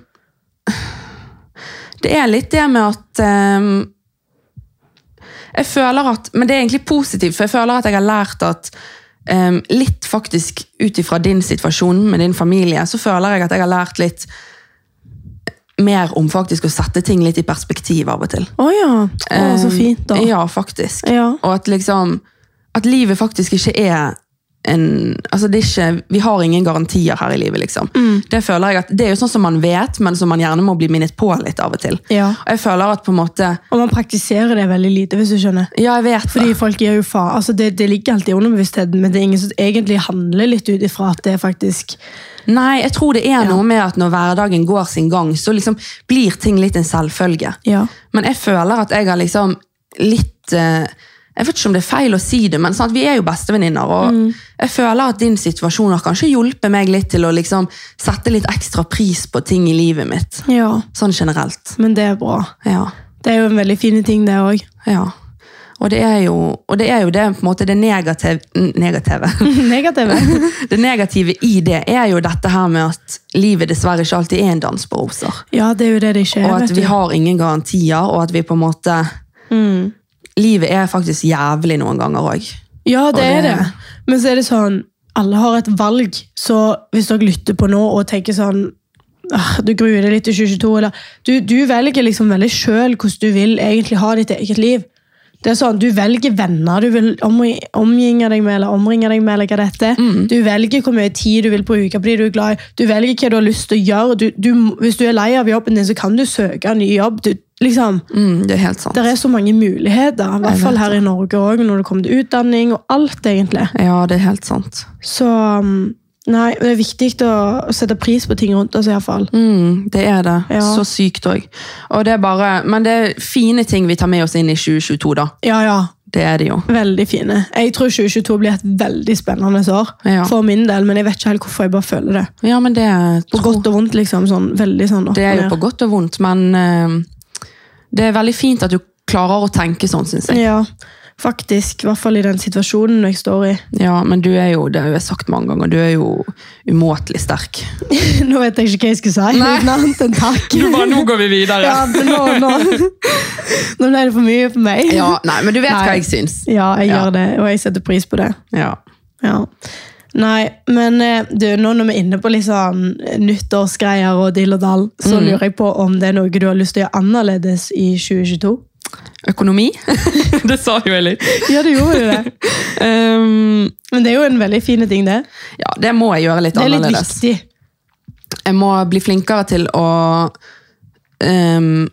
[SPEAKER 2] det er litt det med at ehm, Jeg føler at Men det er egentlig positivt, for jeg føler at jeg har lært at ehm, litt faktisk ut ifra din situasjon med din familie, så føler jeg at jeg har lært litt mer om faktisk å sette ting litt i perspektiv av og til.
[SPEAKER 1] Å ja. Å, så fint, da.
[SPEAKER 2] Eh, Ja, faktisk.
[SPEAKER 1] Ja.
[SPEAKER 2] Og at liksom At livet faktisk ikke er en Altså, det er ikke Vi har ingen garantier her i livet, liksom.
[SPEAKER 1] Mm.
[SPEAKER 2] Det føler jeg at Det er jo sånn som man vet, men som man gjerne må bli minnet på litt av og til.
[SPEAKER 1] Ja.
[SPEAKER 2] Og jeg føler at på en måte
[SPEAKER 1] Og man praktiserer det veldig lite, hvis du skjønner.
[SPEAKER 2] Ja, jeg vet
[SPEAKER 1] Fordi folk gir jo faen. Altså, det, det ligger alltid i underbevisstheten, men det er ingen som egentlig handler litt ut ifra at det er faktisk
[SPEAKER 2] Nei, jeg tror det er noe med at når hverdagen går sin gang, så liksom blir ting litt en selvfølge.
[SPEAKER 1] Ja.
[SPEAKER 2] Men jeg føler at jeg har liksom litt eh, Jeg vet ikke om det er feil å si det, men sant? vi er jo bestevenninner. Og jeg føler at din situasjon har kanskje hjulpet meg litt til å liksom sette litt ekstra pris på ting i livet mitt.
[SPEAKER 1] ja.
[SPEAKER 2] Sånn generelt.
[SPEAKER 1] Men det er bra.
[SPEAKER 2] Ja.
[SPEAKER 1] Det er jo en veldig fin ting, det òg.
[SPEAKER 2] ja. Og det er jo og det, er jo det, på en måte, det negativ, negative
[SPEAKER 1] Negative.
[SPEAKER 2] Det negative i det er jo dette her med at livet dessverre ikke alltid er en dans på roser.
[SPEAKER 1] Ja, det er jo det det ikke er.
[SPEAKER 2] Og at
[SPEAKER 1] vet
[SPEAKER 2] vi
[SPEAKER 1] du.
[SPEAKER 2] har ingen garantier, og at vi på en måte
[SPEAKER 1] Mm.
[SPEAKER 2] Livet er faktisk jævlig noen ganger òg.
[SPEAKER 1] Ja, det er
[SPEAKER 2] det-
[SPEAKER 1] det. Men så er det sånn, alle har et valg, så hvis dere lytter på nå og tenker sånn, «Ah, du gruer deg litt til 2022, eller du, du velger liksom veldig selv hvordan du vil egentlig ha ditt eget liv. Det er sånn, Du velger venner du vil omri- omgynge deg med, eller omringe deg med. eller hva det heter. Du velger hvor mye tid du vil bruke på de du er glad i. Du velger hva du har lyst til å gjøre. Du, du, hvis du er lei av jobben din, så kan du søke en ny jobb. Du, liksom,
[SPEAKER 2] Mm, det er helt sant.
[SPEAKER 1] Det er så mange muligheter, i hvert
[SPEAKER 2] vet
[SPEAKER 1] fall her i Norge òg, når det kommer til utdanning og alt, egentlig.
[SPEAKER 2] Ja, det er helt sant.
[SPEAKER 1] Så um, nei, det er viktig å å sette pris på ting rundt oss, iallfall.
[SPEAKER 2] Mm, det er det.
[SPEAKER 1] Ja.
[SPEAKER 2] Så sykt òg. Og det er bare Men det er fine ting vi tar med oss inn i 2022, da.
[SPEAKER 1] Ja, ja.
[SPEAKER 2] Det er det jo.
[SPEAKER 1] Veldig fine. Jeg tror 2022 blir et veldig spennende år
[SPEAKER 2] Ja.
[SPEAKER 1] for min del, men jeg vet ikke helt hvorfor jeg bare føler det.
[SPEAKER 2] Ja, men det
[SPEAKER 1] På godt og vondt, liksom. Sånn, veldig sånn opp
[SPEAKER 2] Det er jo
[SPEAKER 1] og
[SPEAKER 2] på
[SPEAKER 1] ned.
[SPEAKER 2] godt og vondt, men eh, det er veldig fint at du klarer å tenke sånn, syns jeg.
[SPEAKER 1] Ja, faktisk. I hvert fall i den situasjonen jeg står i.
[SPEAKER 2] Ja, men du er jo, det har jeg sagt mange ganger, du er jo umåtelig sterk.
[SPEAKER 1] Nå vet jeg ikke hva jeg skal si,
[SPEAKER 2] Nei.
[SPEAKER 1] uten annet enn takk.
[SPEAKER 2] nå går vi videre.
[SPEAKER 1] ja, men nå, nå. nå ble det for mye for meg.
[SPEAKER 2] Ja, nei, men du vet
[SPEAKER 1] Nei.
[SPEAKER 2] hva jeg syns.
[SPEAKER 1] Ja, jeg
[SPEAKER 2] Ja.
[SPEAKER 1] gjør det, og jeg setter pris på det.
[SPEAKER 2] Ja.
[SPEAKER 1] Ja. Nei, men eh, du, nå når vi er inne på liksom nyttårsgreier og dill og dall, så lurer jeg på om det er noe du har lyst til å gjøre annerledes i 2022?
[SPEAKER 2] Økonomi. det sa jo jeg litt.
[SPEAKER 1] Ja, du gjorde jo det.
[SPEAKER 2] Um,
[SPEAKER 1] Men det er jo en veldig fin ting, det.
[SPEAKER 2] ja, det må jeg gjøre litt
[SPEAKER 1] Det er litt
[SPEAKER 2] annerledes.
[SPEAKER 1] viktig.
[SPEAKER 2] Jeg må bli flinkere til å ehm,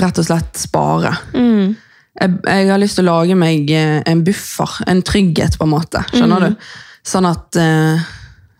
[SPEAKER 2] rett og slett spare. Mm. Jeg, jeg har lyst til å lage meg eh, en buffer, en trygghet på en måte, skjønner du? Sånn at, eh,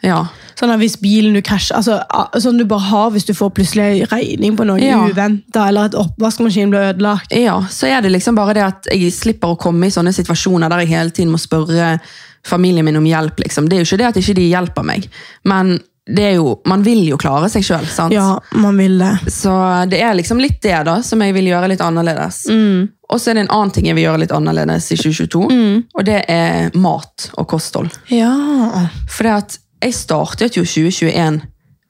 [SPEAKER 2] ja,
[SPEAKER 1] Sånn at hvis bilen du krasjer altså, a- Sånn du bare har hvis du får plutselig en regning på noe
[SPEAKER 2] Ja.
[SPEAKER 1] uventa, eller at oppvaskmaskinen blir ødelagt.
[SPEAKER 2] ja, så er det liksom bare det at jeg slipper å komme i sånne situasjoner der jeg hele tiden må spørre familien min om hjelp, liksom. Det er jo ikke det at ikke de hjelper meg, men det er jo, man vil jo klare seg selv, sant?
[SPEAKER 1] Ja, man vil det.
[SPEAKER 2] Så det er liksom litt det da, som jeg vil gjøre litt annerledes.
[SPEAKER 1] Mm.
[SPEAKER 2] Og så er det en annen ting jeg vil gjøre litt annerledes i 2022, og det er mat og kosthold.
[SPEAKER 1] Ja.
[SPEAKER 2] For det at jeg startet jo 2021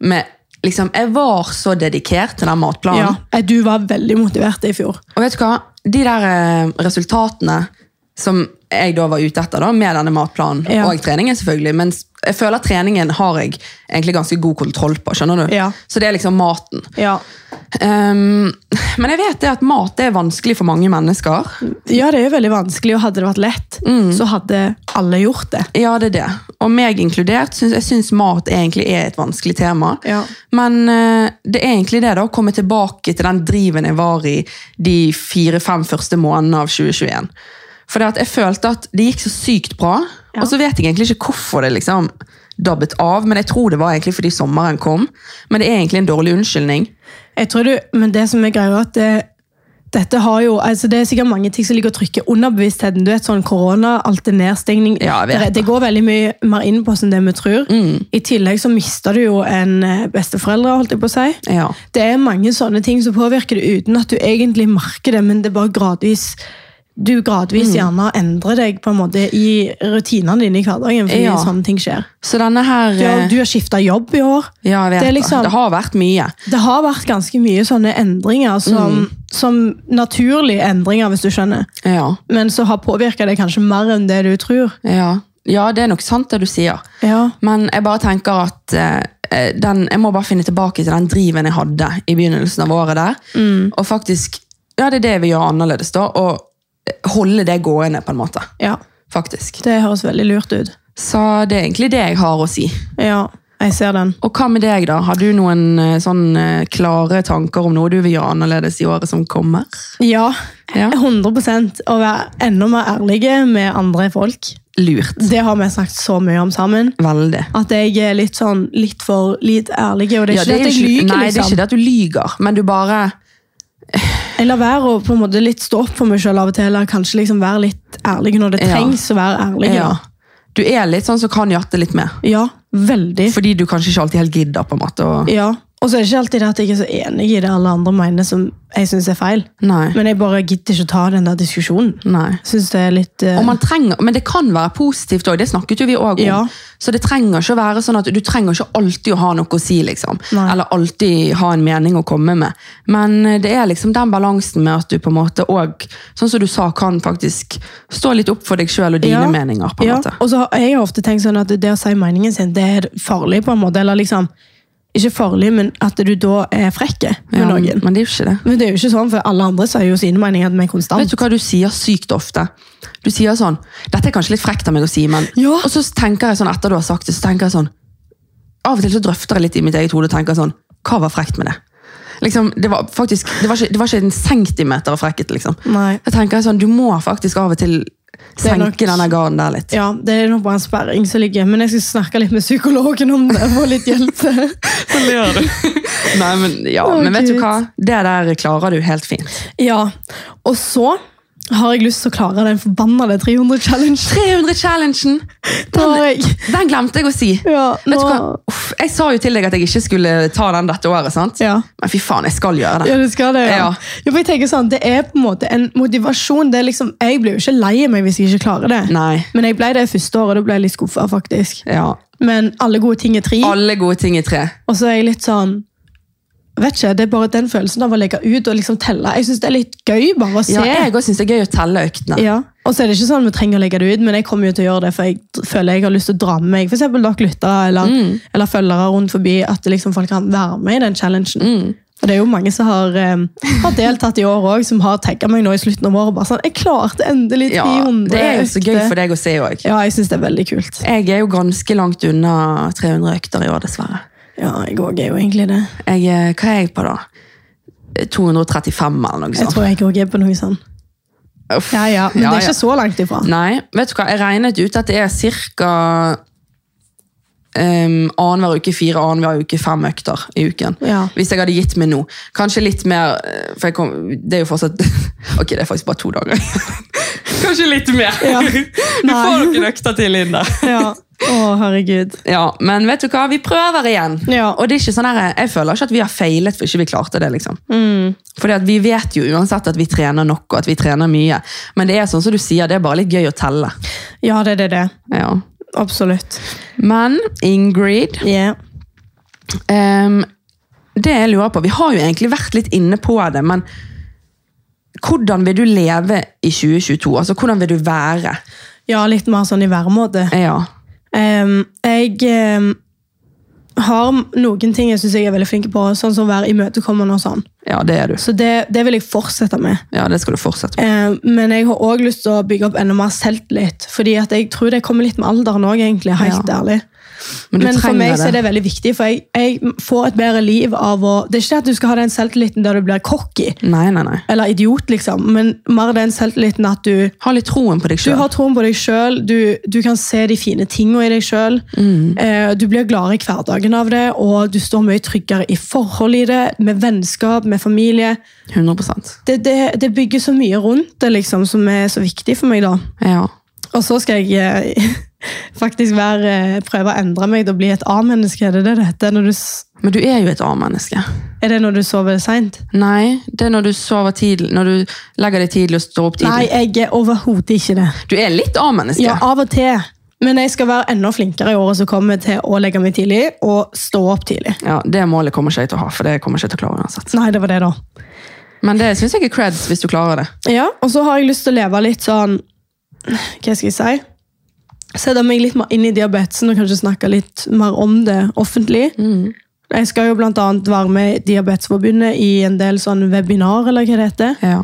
[SPEAKER 2] med liksom, jeg var så dedikert til den matplanen.
[SPEAKER 1] Ja. Eh, Du var veldig motivert i fjor.
[SPEAKER 2] Og vet du hva? De der eh, resultatene som jeg da var ute etter da, med denne matplanen,
[SPEAKER 1] Ja.
[SPEAKER 2] og treningen selvfølgelig, men s- jeg føler at treningen har jeg egentlig ganske god kontroll på, skjønner du?
[SPEAKER 1] Ja.
[SPEAKER 2] Så det er liksom maten.
[SPEAKER 1] Ja,
[SPEAKER 2] Ehm, men jeg vet det at mat det er vanskelig for mange mennesker.
[SPEAKER 1] ja det er jo veldig vanskelig, og hadde det vært lett,
[SPEAKER 2] Mm.
[SPEAKER 1] så hadde alle gjort det.
[SPEAKER 2] Ja, det er det. Og meg inkludert, syns- jeg syns mat egentlig er et vanskelig tema.
[SPEAKER 1] Ja.
[SPEAKER 2] Men eh, det er egentlig det da, å komme tilbake til den driven jeg var i de fire-fem første månedene av 2021. For det at jeg følte at det gikk så sykt bra,
[SPEAKER 1] Ja.
[SPEAKER 2] og så vet jeg egentlig ikke hvorfor det liksom dabbet av, men jeg tror det var egentlig fordi sommeren kom. Men det er egentlig en dårlig unnskyldning.
[SPEAKER 1] Jeg tror du, men det som er greia er at det, dette har jo, altså det er sikkert mange ting som ligger og trykker under bevisstheten. Du vet sånn korona, alt er nedstengning.
[SPEAKER 2] Ja, jeg vet Mm.
[SPEAKER 1] det, det går veldig mye mer inn på oss enn det vi tror. I tillegg så mister du jo en eh, besteforeldre, holdt jeg på å si.
[SPEAKER 2] Ja.
[SPEAKER 1] Det er mange sånne ting som påvirker det uten at du egentlig merker det, men det er bare gradvis du
[SPEAKER 2] Mm.
[SPEAKER 1] gradvis gjerne endrer deg på en måte i rutinene dine i hverdagen. fordi
[SPEAKER 2] Ja.
[SPEAKER 1] sånne ting skjer.
[SPEAKER 2] Så denne her
[SPEAKER 1] Du har,
[SPEAKER 2] eh,
[SPEAKER 1] du har skifta jobb i år.
[SPEAKER 2] Ja, jeg vet
[SPEAKER 1] det er
[SPEAKER 2] det.
[SPEAKER 1] liksom-
[SPEAKER 2] Det har vært mye.
[SPEAKER 1] Det har vært ganske mye sånne endringer, som,
[SPEAKER 2] Mm.
[SPEAKER 1] som naturlige endringer, hvis du skjønner.
[SPEAKER 2] Ja.
[SPEAKER 1] Men så har påvirka det kanskje mer enn det du tror.
[SPEAKER 2] Ja. ja, det er nok sant det du sier.
[SPEAKER 1] Ja,
[SPEAKER 2] Men jeg bare tenker at eh, eh, den, jeg må bare finne tilbake til den driven jeg hadde i begynnelsen av året der.
[SPEAKER 1] Mm.
[SPEAKER 2] Og faktisk, ja, det er det vi gjør annerledes da, og eh, holde det gående på en måte,
[SPEAKER 1] ja
[SPEAKER 2] faktisk.
[SPEAKER 1] det høres veldig lurt ut.
[SPEAKER 2] Så det er egentlig det jeg har å si.
[SPEAKER 1] Ja, jeg ser den.
[SPEAKER 2] Og hva med deg da? Har du noen eh, sånn eh, klare tanker om noe du vil gjøre annerledes i året som kommer?
[SPEAKER 1] Ja,
[SPEAKER 2] Ja.
[SPEAKER 1] 100 å være enda mer ærlige med andre folk.
[SPEAKER 2] Lurt.
[SPEAKER 1] Det har vi snakket så mye om sammen.
[SPEAKER 2] Veldig.
[SPEAKER 1] At jeg er litt sånn litt for litt ærlig. Og det er
[SPEAKER 2] Ja,
[SPEAKER 1] ikke
[SPEAKER 2] det er
[SPEAKER 1] at jeg
[SPEAKER 2] jo ikke-
[SPEAKER 1] lyver,
[SPEAKER 2] Nei, det er
[SPEAKER 1] liksom.
[SPEAKER 2] ikke det at du lyger, men du bare...
[SPEAKER 1] Jeg lar være å på en måte litt stå opp for meg sjøl av og til. Eller kanskje liksom være litt ærlig når det
[SPEAKER 2] Ja.
[SPEAKER 1] trengs å være ærlig.
[SPEAKER 2] Ja. Du er litt sånn som kan jatte litt mer.
[SPEAKER 1] Ja, veldig.
[SPEAKER 2] Fordi du kanskje ikke alltid helt gidder på en måte. Og...
[SPEAKER 1] Ja, og så er det ikke alltid det at jeg er så enig i det alle andre mener som jeg synes er feil.
[SPEAKER 2] Nei.
[SPEAKER 1] Men jeg bare gidder ikke å ta den der diskusjonen.
[SPEAKER 2] Nei.
[SPEAKER 1] Jeg synes det er litt... eh,
[SPEAKER 2] Og man trenger, men det kan være positivt òg, det snakket jo vi òg om.
[SPEAKER 1] Ja.
[SPEAKER 2] Så det trenger ikke å være sånn at du trenger ikke alltid å ha noe å si, liksom.
[SPEAKER 1] Nei.
[SPEAKER 2] Eller alltid ha en mening å komme med. Men eh, det er liksom den balansen med at du på en måte òg, sånn som du sa, kan faktisk stå litt opp for deg sjøl og dine
[SPEAKER 1] Ja.
[SPEAKER 2] meninger, på en
[SPEAKER 1] ja.
[SPEAKER 2] måte.
[SPEAKER 1] Og så har jeg har ofte tenkt sånn at det å si meningen sin, det er farlig på en måte, eller liksom... Ikke farlig, men at du da er frekke med
[SPEAKER 2] Ja,
[SPEAKER 1] noen.
[SPEAKER 2] men det er jo ikke det.
[SPEAKER 1] Men det er jo ikke sånn, for alle andre sier jo sine meninger med konstant.
[SPEAKER 2] Vet du hva du sier sykt ofte? Du sier sånn Dette er kanskje litt frekt av meg å si, men
[SPEAKER 1] Ja.
[SPEAKER 2] Og så tenker jeg sånn etter du har sagt det, så tenker jeg sånn Av og til så drøfter jeg litt i mitt eget hode og tenker sånn Hva var frekt med det? Liksom, det var faktisk Det var ikke, det var ikke en centimeter av frekkhet, liksom.
[SPEAKER 1] Nei.
[SPEAKER 2] Jeg tenker sånn Du må faktisk av og til
[SPEAKER 1] er nok-
[SPEAKER 2] senke denne garden der litt.
[SPEAKER 1] Ja, det er nok bare en sperring som ligger, men jeg skal snakke litt med psykologen om det, og få litt hjelp til.
[SPEAKER 2] Så ler du. Nei, men ja,
[SPEAKER 1] Å,
[SPEAKER 2] men vet du
[SPEAKER 1] Gud.
[SPEAKER 2] hva? Det der klarer du helt fint.
[SPEAKER 1] Ja, og så har jeg lyst til å klare den forbannede 300-challenge.
[SPEAKER 2] 300-challengen!
[SPEAKER 1] Da har jeg...
[SPEAKER 2] Den glemte jeg å si.
[SPEAKER 1] Ja,
[SPEAKER 2] Vet
[SPEAKER 1] nå...
[SPEAKER 2] du hva? Uff, jeg sa jo til deg at jeg ikke skulle ta den dette året, sant?
[SPEAKER 1] Ja.
[SPEAKER 2] Men fy faen, jeg skal gjøre det.
[SPEAKER 1] Ja, du skal det, ja.
[SPEAKER 2] Ja.
[SPEAKER 1] Jo, for jeg tenker sånn, Det er på en måte en motivasjon. det er liksom, Jeg blir jo ikke lei meg hvis jeg ikke klarer det.
[SPEAKER 2] Nei.
[SPEAKER 1] Men jeg ble det første året, da ble jeg litt skuffa, faktisk.
[SPEAKER 2] Ja.
[SPEAKER 1] Men alle gode ting er tre.
[SPEAKER 2] Alle gode ting i tre.
[SPEAKER 1] Og så er jeg litt sånn vet ikke, Det er bare den følelsen av å legge ut og liksom telle. Jeg syns det er litt gøy bare å se.
[SPEAKER 2] Ja, jeg også synes det er gøy å telle øktene.
[SPEAKER 1] Ja. Og så er det ikke sånn vi trenger å legge det ut, men jeg kommer jo til å gjøre det, for jeg d- føler jeg har lyst til å dra med meg f.eks. dere lyttere eller,
[SPEAKER 2] Mm.
[SPEAKER 1] eller følgere rundt forbi, at liksom folk kan være med i den challengen.
[SPEAKER 2] Mm.
[SPEAKER 1] Og det er jo mange som har, eh, har deltatt i år òg, som har tagget meg nå i slutten av året. bare sånn, jeg klarte endelig 300
[SPEAKER 2] det er jo så gøy
[SPEAKER 1] økter.
[SPEAKER 2] for deg å se også.
[SPEAKER 1] Ja, jeg syns det er veldig kult.
[SPEAKER 2] Jeg er jo ganske langt unna 300 økter i år, dessverre.
[SPEAKER 1] Ja, jeg òg er jo egentlig det.
[SPEAKER 2] Jeg, eh, hva er jeg på da? 235 eller noe
[SPEAKER 1] Jeg
[SPEAKER 2] sånt.
[SPEAKER 1] tror jeg òg er på noe sånn.
[SPEAKER 2] Uff.
[SPEAKER 1] Ja, ja, Men
[SPEAKER 2] Ja,
[SPEAKER 1] det er
[SPEAKER 2] ja.
[SPEAKER 1] ikke så langt ifra.
[SPEAKER 2] Nei, vet du hva? Jeg regnet ut at det er cirka um, annenhver uke fire, annenhver uke fem økter i uken.
[SPEAKER 1] Ja.
[SPEAKER 2] Hvis jeg hadde gitt meg nå. Kanskje litt mer, eh, for jeg kom, det er jo fortsatt, ok, det er faktisk bare to dager. Kanskje litt mer.
[SPEAKER 1] Ja.
[SPEAKER 2] Du
[SPEAKER 1] Nei.
[SPEAKER 2] får noen økter til inn der.
[SPEAKER 1] Ja. Å, herregud.
[SPEAKER 2] Ja, men vet du hva? Vi prøver igjen.
[SPEAKER 1] Ja.
[SPEAKER 2] Og det er ikke sånn her, jeg føler ikke at vi har feilet for ikke vi klarte det, liksom.
[SPEAKER 1] mm.
[SPEAKER 2] Fordi at vi vet jo uansett at vi trener nok, og at vi trener mye. Men det er sånn som du sier, det er bare litt gøy å telle.
[SPEAKER 1] Ja, det er det. det.
[SPEAKER 2] Ja.
[SPEAKER 1] Absolutt.
[SPEAKER 2] Men Ingrid
[SPEAKER 1] Yeah.
[SPEAKER 2] ehm, det jeg lurer på. Vi har jo egentlig vært litt inne på det, men hvordan vil du leve i 2022? Altså, hvordan vil du være?
[SPEAKER 1] Ja, litt mer sånn i væremåte.
[SPEAKER 2] Ja.
[SPEAKER 1] Ehm, jeg ehm, har noen ting jeg syns jeg er veldig flink på, sånn som å være imøtekommende og sånn.
[SPEAKER 2] ja, det er du.
[SPEAKER 1] Så det, det vil jeg fortsette med.
[SPEAKER 2] Ja, det skal du fortsette med.
[SPEAKER 1] Ehm, men jeg har òg lyst til å bygge opp enda mer selvtillit. Fordi at jeg tror det kommer litt med alderen òg, egentlig. Helt
[SPEAKER 2] Ja.
[SPEAKER 1] ærlig.
[SPEAKER 2] Men du
[SPEAKER 1] Men for
[SPEAKER 2] trenger
[SPEAKER 1] meg
[SPEAKER 2] det.
[SPEAKER 1] så er det veldig viktig, for jeg, jeg får et bedre liv av å Det er ikke det at du skal ha den selvtilliten der du blir cocky
[SPEAKER 2] Nei, nei, nei.
[SPEAKER 1] eller idiot, liksom, men mer den selvtilliten at du
[SPEAKER 2] Ha litt troen på deg
[SPEAKER 1] du
[SPEAKER 2] sjøl.
[SPEAKER 1] har troen på deg sjøl, du, du kan se de fine tingene i deg sjøl. Eh, du blir gladere i hverdagen av det, og du står mye tryggere i forhold i det, med vennskap, med familie.
[SPEAKER 2] 100
[SPEAKER 1] Det, det, det bygger så mye rundt det liksom, som er så viktig for meg. da.
[SPEAKER 2] Ja.
[SPEAKER 1] Og så skal jeg eh, faktisk være, eh, prøve å endre meg til å bli et A-menneske. Er det det det heter? Når du, s-
[SPEAKER 2] Men du er jo et A-menneske.
[SPEAKER 1] er det når du sover seint?
[SPEAKER 2] Nei, det er når du sover tidlig, når du legger deg tidlig og står opp
[SPEAKER 1] Nei,
[SPEAKER 2] tidlig.
[SPEAKER 1] jeg er overhodet ikke det.
[SPEAKER 2] Du er litt A-menneske.
[SPEAKER 1] Ja, av og til. Men jeg skal være enda flinkere i året som kommer til å legge meg tidlig og stå opp tidlig.
[SPEAKER 2] Ja, Det målet kommer ikke jeg til å ha, for det kommer jeg ikke til å klare uansett.
[SPEAKER 1] Nei, det var det, da.
[SPEAKER 2] Men det syns jeg er creds hvis du klarer det.
[SPEAKER 1] Ja, og så har jeg lyst til å leve litt sånn Hva skal jeg si? Sette meg litt mer inn i diabetesen og kanskje snakke litt mer om det offentlig. Jeg skal jo blant annet være med i Diabetesforbundet i en del sånn webinar, eller hva det heter.
[SPEAKER 2] Ja.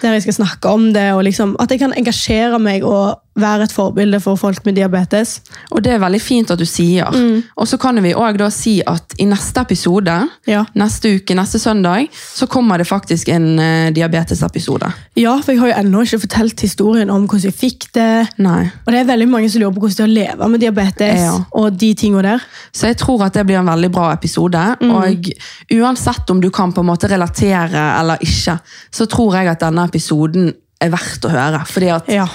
[SPEAKER 1] Der jeg skal snakke om det, og liksom at jeg kan engasjere meg og være et forbilde for folk med diabetes.
[SPEAKER 2] Og det er veldig fint at du sier.
[SPEAKER 1] Mm.
[SPEAKER 2] Og så kan vi òg da si at i neste episode,
[SPEAKER 1] Ja.
[SPEAKER 2] neste uke, neste søndag, så kommer det faktisk en eh, diabetesepisode.
[SPEAKER 1] Ja, for jeg har jo ennå ikke fortalt historien om hvordan jeg fikk det.
[SPEAKER 2] Nei.
[SPEAKER 1] Og det er veldig mange som lurer på hvordan det er å leve med diabetes
[SPEAKER 2] Ja.
[SPEAKER 1] og de tingene der.
[SPEAKER 2] Så jeg tror at det blir en veldig bra episode.
[SPEAKER 1] Mm.
[SPEAKER 2] Og uansett om du kan på en måte relatere eller ikke, så tror jeg at denne episoden er verdt å høre. Fordi at
[SPEAKER 1] Ja.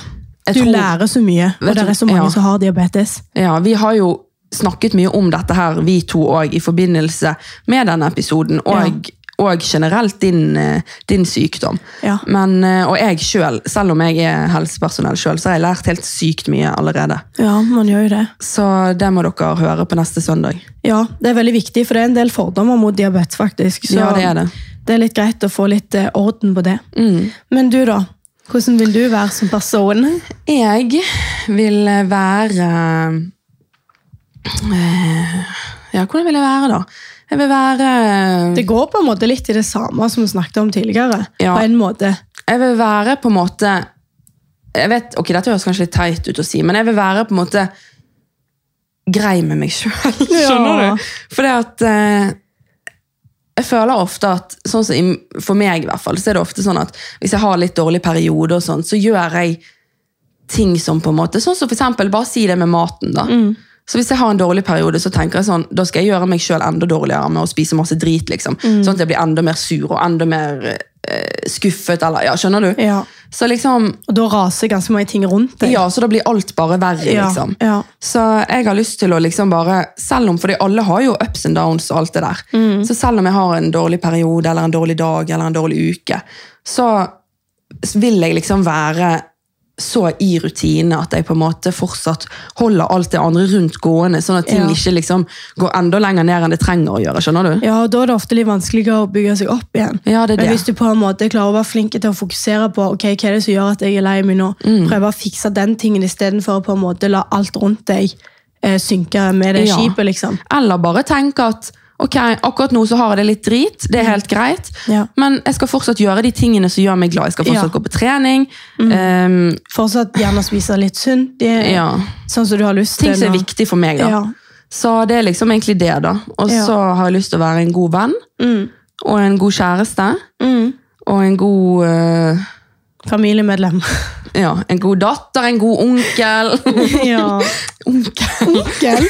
[SPEAKER 2] Jeg
[SPEAKER 1] Du
[SPEAKER 2] tror-
[SPEAKER 1] lærer så mye, og
[SPEAKER 2] Vet
[SPEAKER 1] det
[SPEAKER 2] du-
[SPEAKER 1] er så mange
[SPEAKER 2] ja.
[SPEAKER 1] som har diabetes.
[SPEAKER 2] ja, vi har jo snakket mye om dette her, vi to òg, i forbindelse med denne episoden. Og, og generelt din, eh, din sykdom.
[SPEAKER 1] Ja.
[SPEAKER 2] Men, eh, og jeg sjøl, selv, selv om jeg er helsepersonell sjøl, så har jeg lært helt sykt mye allerede.
[SPEAKER 1] Ja, man gjør jo det.
[SPEAKER 2] Så det må dere høre på neste søndag.
[SPEAKER 1] Ja, Det er veldig viktig, for det er en del fordommer mot diabetes. faktisk. Så
[SPEAKER 2] Ja, det er det. Mm.
[SPEAKER 1] det er litt greit å få litt eh, orden på det. Men du, da? Hvordan vil du være som person?
[SPEAKER 2] Jeg vil være eh, Ja, hvordan vil jeg være, da? Jeg vil være eh,
[SPEAKER 1] Det går på en måte litt i det samme som vi snakket om tidligere.
[SPEAKER 2] Ja.
[SPEAKER 1] på en måte.
[SPEAKER 2] Jeg vil være på en måte jeg vet, ok, Dette høres kanskje litt teit ut å si, men jeg vil være på en måte grei med meg sjøl. Skjønner
[SPEAKER 1] Ja.
[SPEAKER 2] du? Fordi at eh, jeg føler ofte at, sånn som i- for meg i hvert fall, så er det ofte sånn at hvis jeg har litt dårlig periode, og sånn, så gjør jeg ting som på en måte, sånn som for eksempel, bare si det med maten da. Så hvis jeg har en dårlig periode, så tenker jeg sånn, da skal jeg gjøre meg selv enda dårligere med å spise masse drit, liksom. Sånn at jeg blir enda mer sur og enda mer eh, skuffet, eller, ja, skjønner du?
[SPEAKER 1] Ja.
[SPEAKER 2] Så liksom,
[SPEAKER 1] Og da raser ganske mange ting rundt deg.
[SPEAKER 2] ja, så da blir alt bare verre,
[SPEAKER 1] Ja,
[SPEAKER 2] liksom.
[SPEAKER 1] ja.
[SPEAKER 2] Så jeg har lyst til å liksom bare, selv om, fordi alle har jo ups and downs og alt det der,
[SPEAKER 1] Mm.
[SPEAKER 2] så selv om jeg har en dårlig periode, eller en dårlig dag, eller en dårlig uke, så vil jeg liksom være så i rutine at jeg på en måte fortsatt holder alt det andre rundt gående, sånn at ting
[SPEAKER 1] Ja.
[SPEAKER 2] ikke liksom går enda lenger ned enn det trenger å gjøre, skjønner du?
[SPEAKER 1] Ja, og Da er det ofte litt vanskeligere å bygge seg opp igjen.
[SPEAKER 2] Ja, det er
[SPEAKER 1] Men
[SPEAKER 2] det.
[SPEAKER 1] hvis du på en måte klarer å være flink til å fokusere på ok, hva er det som gjør at jeg er lei meg nå,
[SPEAKER 2] Mm.
[SPEAKER 1] prøve å fikse den tingen istedenfor å på en måte la alt rundt deg eh, synke med det
[SPEAKER 2] Ja.
[SPEAKER 1] skipet. liksom.
[SPEAKER 2] Eller bare tenke at ok, akkurat nå så har jeg det litt drit, det er helt greit,
[SPEAKER 1] Ja.
[SPEAKER 2] men jeg skal fortsatt gjøre de tingene som gjør meg glad. Jeg skal fortsatt
[SPEAKER 1] Ja. Mm.
[SPEAKER 2] gå på trening, ehm,
[SPEAKER 1] Fortsatt gjerne spise litt sunt, det-
[SPEAKER 2] Ja.
[SPEAKER 1] sånn som du har lyst
[SPEAKER 2] ting
[SPEAKER 1] til.
[SPEAKER 2] som er
[SPEAKER 1] nå.
[SPEAKER 2] viktig for meg. da.
[SPEAKER 1] Ja.
[SPEAKER 2] Så det er liksom egentlig det, da. Og
[SPEAKER 1] Ja.
[SPEAKER 2] så har jeg lyst til å være en god venn,
[SPEAKER 1] Mm.
[SPEAKER 2] og en god kjæreste,
[SPEAKER 1] Mm.
[SPEAKER 2] og en god eh,
[SPEAKER 1] Familiemedlem.
[SPEAKER 2] ja, en god datter, en god onkel.
[SPEAKER 1] ja.
[SPEAKER 2] onkel?
[SPEAKER 1] Onkel?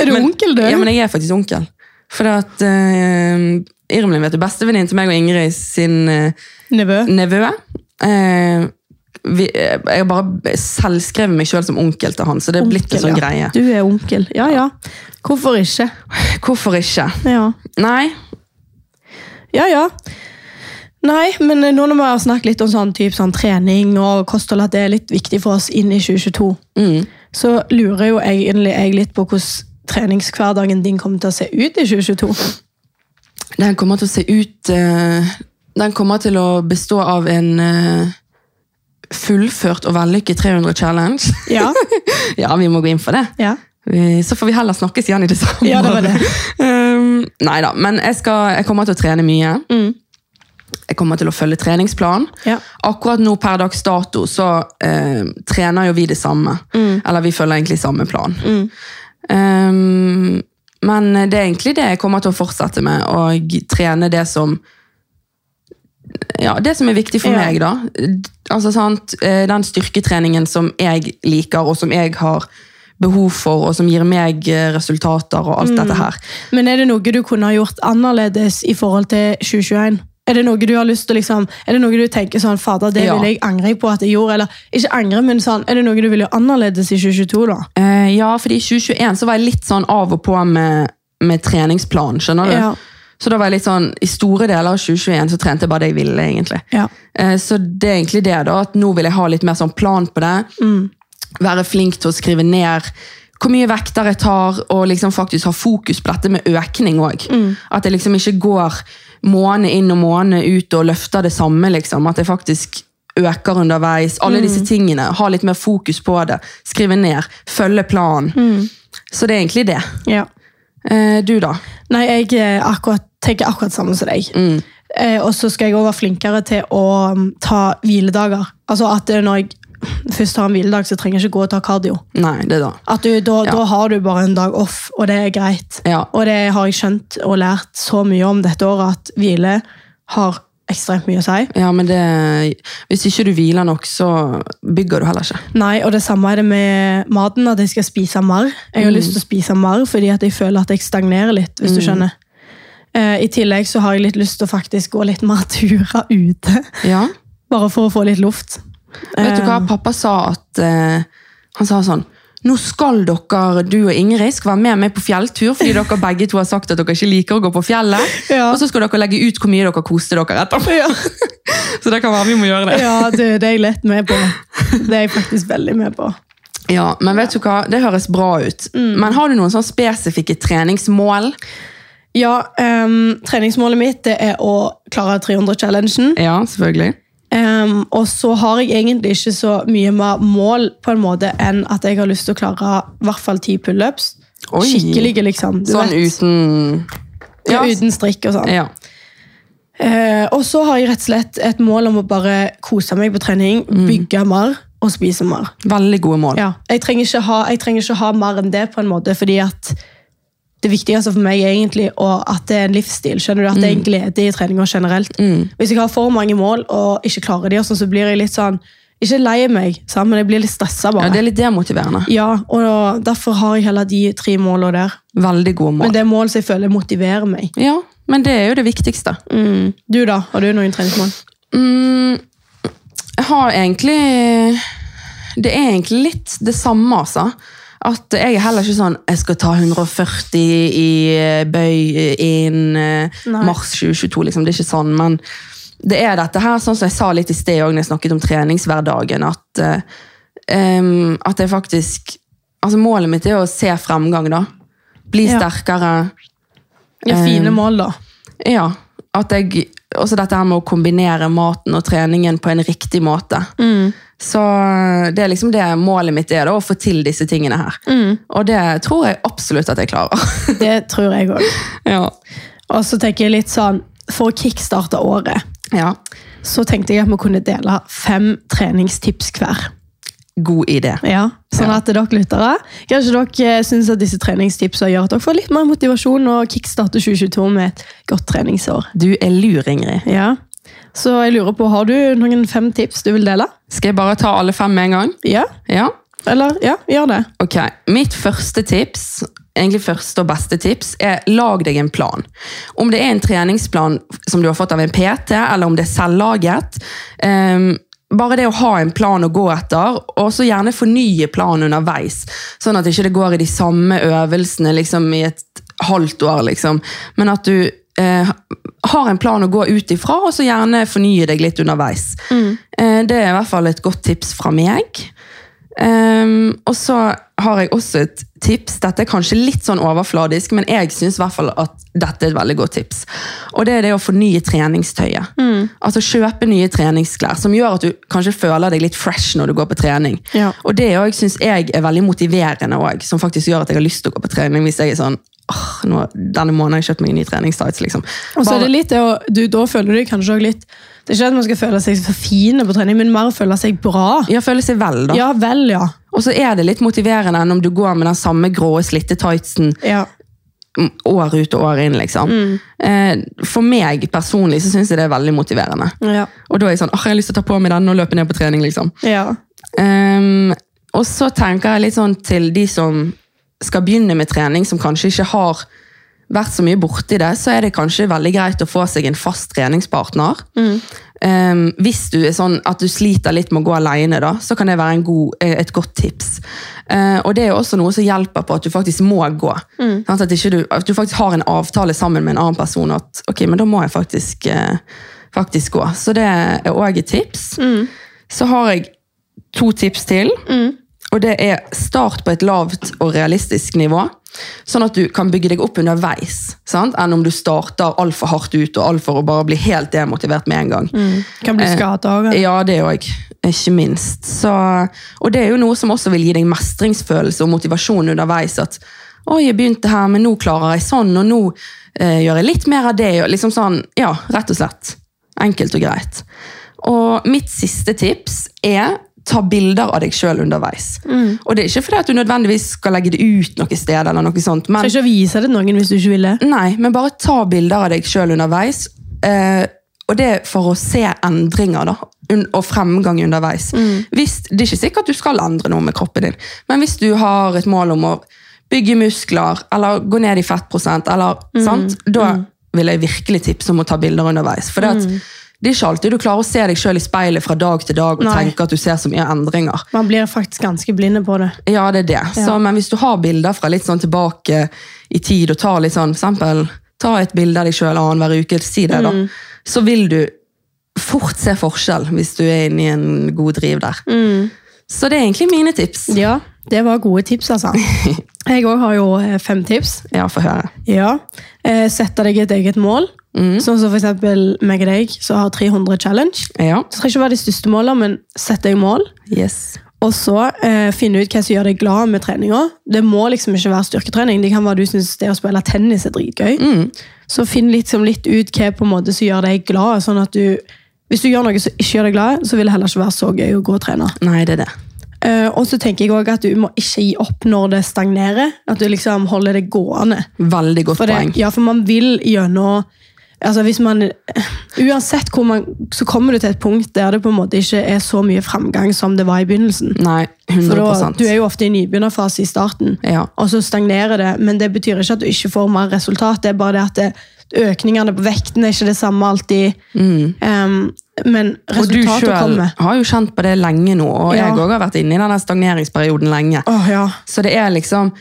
[SPEAKER 1] er du onkel, du?
[SPEAKER 2] Ja, men jeg er faktisk onkel. For at uh, Irmelin vet du, bestevenninnen til meg og Ingrid sin eh,
[SPEAKER 1] Nevø?
[SPEAKER 2] nevø. Eh, vi, eh, jeg har bare selvskrevet meg sjøl som onkel til han, så det er blitt en sånn
[SPEAKER 1] ja.
[SPEAKER 2] greie.
[SPEAKER 1] Du er onkel. Ja, ja. Hvorfor ikke?
[SPEAKER 2] Hvorfor ikke?
[SPEAKER 1] Ja.
[SPEAKER 2] Nei,
[SPEAKER 1] Ja, ja. Nei, men nå når vi har snakket litt om sånn, typ, sånn trening og kosthold, at det er litt viktig for oss inn i 2022, så lurer jo egentlig jeg litt på hvordan treningshverdagen din kommer til å se ut i 2022.
[SPEAKER 2] Den kommer til å se ut eh, Den kommer til å bestå av en eh, fullført og vellykket 300 challenge.
[SPEAKER 1] Ja.
[SPEAKER 2] ja, vi må gå inn for det.
[SPEAKER 1] ja.
[SPEAKER 2] Vi- Så får vi heller snakkes igjen i desember.
[SPEAKER 1] Ja, det var det.
[SPEAKER 2] um, nei da, men jeg, skal, jeg kommer til å trene mye. Jeg kommer til å følge treningsplan.
[SPEAKER 1] Ja.
[SPEAKER 2] Akkurat nå per dags dato så eh, trener jo vi det samme. Eller vi følger egentlig samme plan. Um, men det er egentlig det jeg kommer til å fortsette med, og trene det som ja, det som er viktig for
[SPEAKER 1] Ja.
[SPEAKER 2] meg, da. Altså, sant? eh, Den styrketreningen som jeg liker, og som jeg har behov for, og som gir meg eh, resultater og alt dette her.
[SPEAKER 1] Men er det noe du kunne ha gjort annerledes i forhold til 2021? Er det noe du har lyst til å liksom, er det noe du tenker sånn, fader, det
[SPEAKER 2] Ja.
[SPEAKER 1] vil jeg angre på at jeg gjorde, eller ikke angre, men sånn, er det noe du vil gjøre annerledes i 2022 da?
[SPEAKER 2] Eh, ja, fordi i 2021 så var jeg litt sånn av og på med, med treningsplan, skjønner du?
[SPEAKER 1] Ja.
[SPEAKER 2] Så da var jeg litt sånn, i store deler av 2021 så trente jeg bare det jeg ville, egentlig.
[SPEAKER 1] Ja.
[SPEAKER 2] Eh, så det er egentlig det da, at nå vil jeg ha litt mer sånn plan på det. Være flink til å skrive ned hvor mye vekter jeg tar, og liksom faktisk ha fokus på dette med økning også. At jeg liksom ikke går måned inn og måned ut og løfter det samme, liksom. At jeg faktisk øker underveis. Alle disse tingene. Ha litt mer fokus på det. Skrive ned. Følge planen. Så det er egentlig det.
[SPEAKER 1] Ja.
[SPEAKER 2] Eh, du da?
[SPEAKER 1] Nei, jeg eh, akkurat, tenker akkurat samme som deg. Eh, og så skal jeg også være flinkere til å mm, ta hviledager. Altså at eh, når jeg først har en hviledag, så trenger jeg ikke gå og ta kardio.
[SPEAKER 2] Nei, det da.
[SPEAKER 1] At du, da, da har du bare en dag off, og det er greit.
[SPEAKER 2] Ja.
[SPEAKER 1] Og det har jeg skjønt og lært så mye om dette året, at hvile har ekstremt mye å si.
[SPEAKER 2] Ja, men det, hvis ikke du hviler nok, så bygger du heller ikke.
[SPEAKER 1] Nei, og det samme er det med maten, at jeg skal spise mer. Jeg har
[SPEAKER 2] Mm.
[SPEAKER 1] lyst til å spise mer fordi at jeg føler at jeg stagnerer litt, hvis du skjønner. Eh, I tillegg så har jeg litt lyst til å faktisk gå litt mer turer ute,
[SPEAKER 2] Ja.
[SPEAKER 1] bare for å få litt luft.
[SPEAKER 2] Vet du hva, pappa sa at eh, Han sa sånn nå skal dere, du og Ingrid, skal være med meg på fjelltur, fordi dere begge to har sagt at dere ikke liker å gå på fjellet.
[SPEAKER 1] Ja.
[SPEAKER 2] Og så skal dere legge ut hvor mye dere koste dere etterpå.
[SPEAKER 1] Ja,
[SPEAKER 2] Så det kan være vi må gjøre det.
[SPEAKER 1] ja du, det er jeg lett med på. Det er jeg faktisk veldig med på.
[SPEAKER 2] Ja, Men vet du hva, det høres bra ut. Men har du noen sånn spesifikke treningsmål?
[SPEAKER 1] Ja, ehm, treningsmålet mitt det er å klare 300-challengen.
[SPEAKER 2] Ja, selvfølgelig.
[SPEAKER 1] Ehm, og så har jeg egentlig ikke så mye mer mål på en måte enn at jeg har lyst til å klare i hvert fall ti pullups.
[SPEAKER 2] Oi.
[SPEAKER 1] Skikkelige, liksom. Du
[SPEAKER 2] Sånn
[SPEAKER 1] vet.
[SPEAKER 2] uten
[SPEAKER 1] Ja, uten strikk og sånn.
[SPEAKER 2] Ja.
[SPEAKER 1] Eh, og så har jeg rett og slett et mål om å bare kose meg på trening,
[SPEAKER 2] Mm.
[SPEAKER 1] bygge mer og spise mer.
[SPEAKER 2] Veldig gode mål.
[SPEAKER 1] Ja. Jeg, trenger ikke ha, jeg trenger ikke ha mer enn det, på en måte, fordi at det viktigste for meg er egentlig å- at det er en livsstil. skjønner du, At det
[SPEAKER 2] Mm.
[SPEAKER 1] er en glede i treninga generelt. Hvis jeg har for mange mål og ikke klarer de, og sånn, så blir jeg litt sånn Ikke lei meg, sant, men jeg blir litt stressa,
[SPEAKER 2] Ja,
[SPEAKER 1] bare.
[SPEAKER 2] Det er litt demotiverende.
[SPEAKER 1] Ja, og derfor har jeg heller de tre målene der.
[SPEAKER 2] Veldig gode
[SPEAKER 1] Men
[SPEAKER 2] mål.
[SPEAKER 1] det er mål som jeg føler motiverer meg.
[SPEAKER 2] Ja, men det er jo det viktigste.
[SPEAKER 1] Du, da? Har du noen treningsmål?
[SPEAKER 2] Mm, jeg har egentlig Det er egentlig litt det samme, altså. At jeg er heller ikke sånn Jeg skal ta 140 i eh, bøy inn eh,
[SPEAKER 1] Nei.
[SPEAKER 2] mars 2022, liksom. Det er ikke sånn, men det er dette her, sånn som jeg sa litt i sted òg, når jeg snakket om treningshverdagen, at, eh, em, at jeg faktisk Altså, målet mitt er å se fremgang, da. Bli
[SPEAKER 1] Ja.
[SPEAKER 2] sterkere.
[SPEAKER 1] Ja, fine mål, da.
[SPEAKER 2] Ja. At jeg, også dette her med å kombinere maten og treningen på en riktig måte. Så det er liksom det målet mitt er, da, å få til disse tingene her. Og det tror jeg absolutt at jeg klarer.
[SPEAKER 1] Det tror jeg òg.
[SPEAKER 2] ja.
[SPEAKER 1] Og så tenker jeg litt sånn For å kickstarte året
[SPEAKER 2] ja.
[SPEAKER 1] så tenkte jeg at vi kunne dele fem treningstips hver.
[SPEAKER 2] God idé.
[SPEAKER 1] Ja, Sånn
[SPEAKER 2] Ja.
[SPEAKER 1] at dere lyttere Kanskje dere syns at disse treningstipsene gjør at dere får litt mer motivasjon og kickstarter 2022 med et godt treningsår.
[SPEAKER 2] Du er lur, Ingrid.
[SPEAKER 1] Ja. Så jeg lurer på, har du noen fem tips du vil dele?
[SPEAKER 2] Skal jeg bare ta alle fem med en gang?
[SPEAKER 1] Ja?
[SPEAKER 2] Ja.
[SPEAKER 1] Eller? Ja, gjør det.
[SPEAKER 2] Ok, Mitt første tips, egentlig første og beste tips, er lag deg en plan. Om det er en treningsplan som du har fått av en PT, eller om det er selvlaget. ehm, bare det å ha en plan å gå etter, og så gjerne fornye planen underveis. Sånn at ikke det går i de samme øvelsene liksom, i et halvt år, liksom. Men at du eh, har en plan å gå ut ifra, og så gjerne fornye deg litt underveis. Eh, det er i hvert fall et godt tips fra meg. Ehm, og så har jeg også et tips. Dette er kanskje litt sånn overfladisk, men jeg syns at dette er et veldig godt tips. Og det er det å fornye treningstøyet.
[SPEAKER 1] Mm.
[SPEAKER 2] Altså Kjøpe nye treningsklær, som gjør at du kanskje føler deg litt fresh når du går på trening.
[SPEAKER 1] Ja.
[SPEAKER 2] Og det òg syns jeg er veldig motiverende, også, som faktisk gjør at jeg har lyst til å gå på trening. hvis jeg er sånn, Åh, nå, denne måneden har jeg kjøpt meg en ny treningstights. liksom.
[SPEAKER 1] Og så
[SPEAKER 2] Bare-
[SPEAKER 1] er det litt det å du, Da føler du deg kanskje også litt Det er ikke at man skal føle seg for fine på trening, men mer føle seg bra.
[SPEAKER 2] ja, føle seg vel, da.
[SPEAKER 1] Ja vel, ja.
[SPEAKER 2] Og så er det litt motiverende enn om du går med den samme grå, slitte tightsen
[SPEAKER 1] ja.
[SPEAKER 2] mm, år ut og år inn, liksom. Eh, For meg personlig så syns jeg det er veldig motiverende.
[SPEAKER 1] Ja.
[SPEAKER 2] Og da er jeg sånn, åh, jeg har lyst til å ta på meg den og løpe ned på trening, liksom.
[SPEAKER 1] ja.
[SPEAKER 2] Ehm, og så tenker jeg litt sånn til de som skal begynne med trening, som kanskje ikke har vært så mye borti det, så er det kanskje veldig greit å få seg en fast treningspartner. Ehm, hvis du er sånn at du sliter litt med å gå alene, da, så kan det være en god, eh, et godt tips. Eh, og det er jo også noe som hjelper på at du faktisk må gå. Sant? At, ikke du, at du faktisk har en avtale sammen med en annen person at ok, men da må jeg faktisk, eh, faktisk gå. Så det er òg et tips. Så har jeg to tips til. Og det er start på et lavt og realistisk nivå, sånn at du kan bygge deg opp underveis. Sant? Enn om du starter altfor hardt ut og alt for å bare bli helt demotivert med en gang.
[SPEAKER 1] Kan bli skada òg.
[SPEAKER 2] Ja, det òg. Ikke minst. Så, og det er jo noe som også vil gi deg mestringsfølelse og motivasjon underveis. At 'Oi, jeg begynte her, men nå klarer jeg sånn, og nå eh, gjør jeg litt mer av det.' Og liksom sånn, ja, rett og slett. Enkelt og greit. Og mitt siste tips er ta bilder av deg sjøl underveis. Og det er ikke fordi at du nødvendigvis skal legge det ut noe sted, eller noe sånt, men
[SPEAKER 1] Trenger ikke å vise det til noen hvis du ikke vil det.
[SPEAKER 2] Nei, men bare ta bilder av deg sjøl underveis. Eh, og det er for å se endringer da, un og fremgang underveis. Hvis, det er ikke sikkert du skal endre noe med kroppen din, men hvis du har et mål om å bygge muskler, eller gå ned i fettprosent, eller, sant? da vil jeg virkelig tipse om å ta bilder underveis. For det, at, det er ikke alltid du klarer å se deg sjøl i speilet fra dag til dag og
[SPEAKER 1] Nei.
[SPEAKER 2] tenke at du ser så mye endringer.
[SPEAKER 1] Man blir faktisk ganske blinde på det.
[SPEAKER 2] Ja, det er det. Så,
[SPEAKER 1] Ja.
[SPEAKER 2] men hvis du har bilder fra litt sånn tilbake i tid, og tar litt sånn, for eksempel, ta et bilde av deg sjøl annenhver uke, si det, da,
[SPEAKER 1] Mm.
[SPEAKER 2] så vil du fort se forskjell hvis du er inne i en god driv der.
[SPEAKER 1] Mm.
[SPEAKER 2] Så det er egentlig mine tips.
[SPEAKER 1] Ja, det var gode tips, altså. Jeg òg har jo eh, fem tips.
[SPEAKER 2] Ja, få høre.
[SPEAKER 1] Ja. Eh, Sette deg et eget mål. Sånn som for eksempel meg og deg, som har 300 challenge.
[SPEAKER 2] Ja.
[SPEAKER 1] Det trenger ikke være de største målene, men sett deg mål.
[SPEAKER 2] Yes.
[SPEAKER 1] Og så eh, finne ut hva som gjør deg glad med treninga. Det må liksom ikke være styrketrening. Det kan være du syns det å spille tennis er dritgøy. Så finn liksom litt ut hva på en måte som gjør deg glad. sånn at du, Hvis du gjør noe som ikke gjør deg glad, så vil det heller ikke være så gøy å gå og trene.
[SPEAKER 2] Nei, det er det.
[SPEAKER 1] Eh, og så tenker jeg også at du må ikke gi opp når det stagnerer. At du liksom holder det gående.
[SPEAKER 2] Veldig godt
[SPEAKER 1] For det,
[SPEAKER 2] poeng.
[SPEAKER 1] ja, for man vil gjennom altså hvis man, Uansett hvor man Så kommer du til et punkt der det på en måte ikke er så mye framgang som det var i begynnelsen.
[SPEAKER 2] Nei,
[SPEAKER 1] For
[SPEAKER 2] 100
[SPEAKER 1] da, Du er jo ofte i nybegynnerfase i starten,
[SPEAKER 2] Ja.
[SPEAKER 1] og så stagnerer det. Men det betyr ikke at du ikke får mer resultat. Det er bare det at det, økningene på vekten er ikke det samme alltid. Em, men
[SPEAKER 2] Mm. Og du
[SPEAKER 1] resultatet
[SPEAKER 2] sjøl
[SPEAKER 1] kommer.
[SPEAKER 2] har jo kjent på det lenge nå, og
[SPEAKER 1] Ja.
[SPEAKER 2] jeg òg har vært inne i denne stagneringsperioden lenge.
[SPEAKER 1] Åh, ja.
[SPEAKER 2] Så det er liksom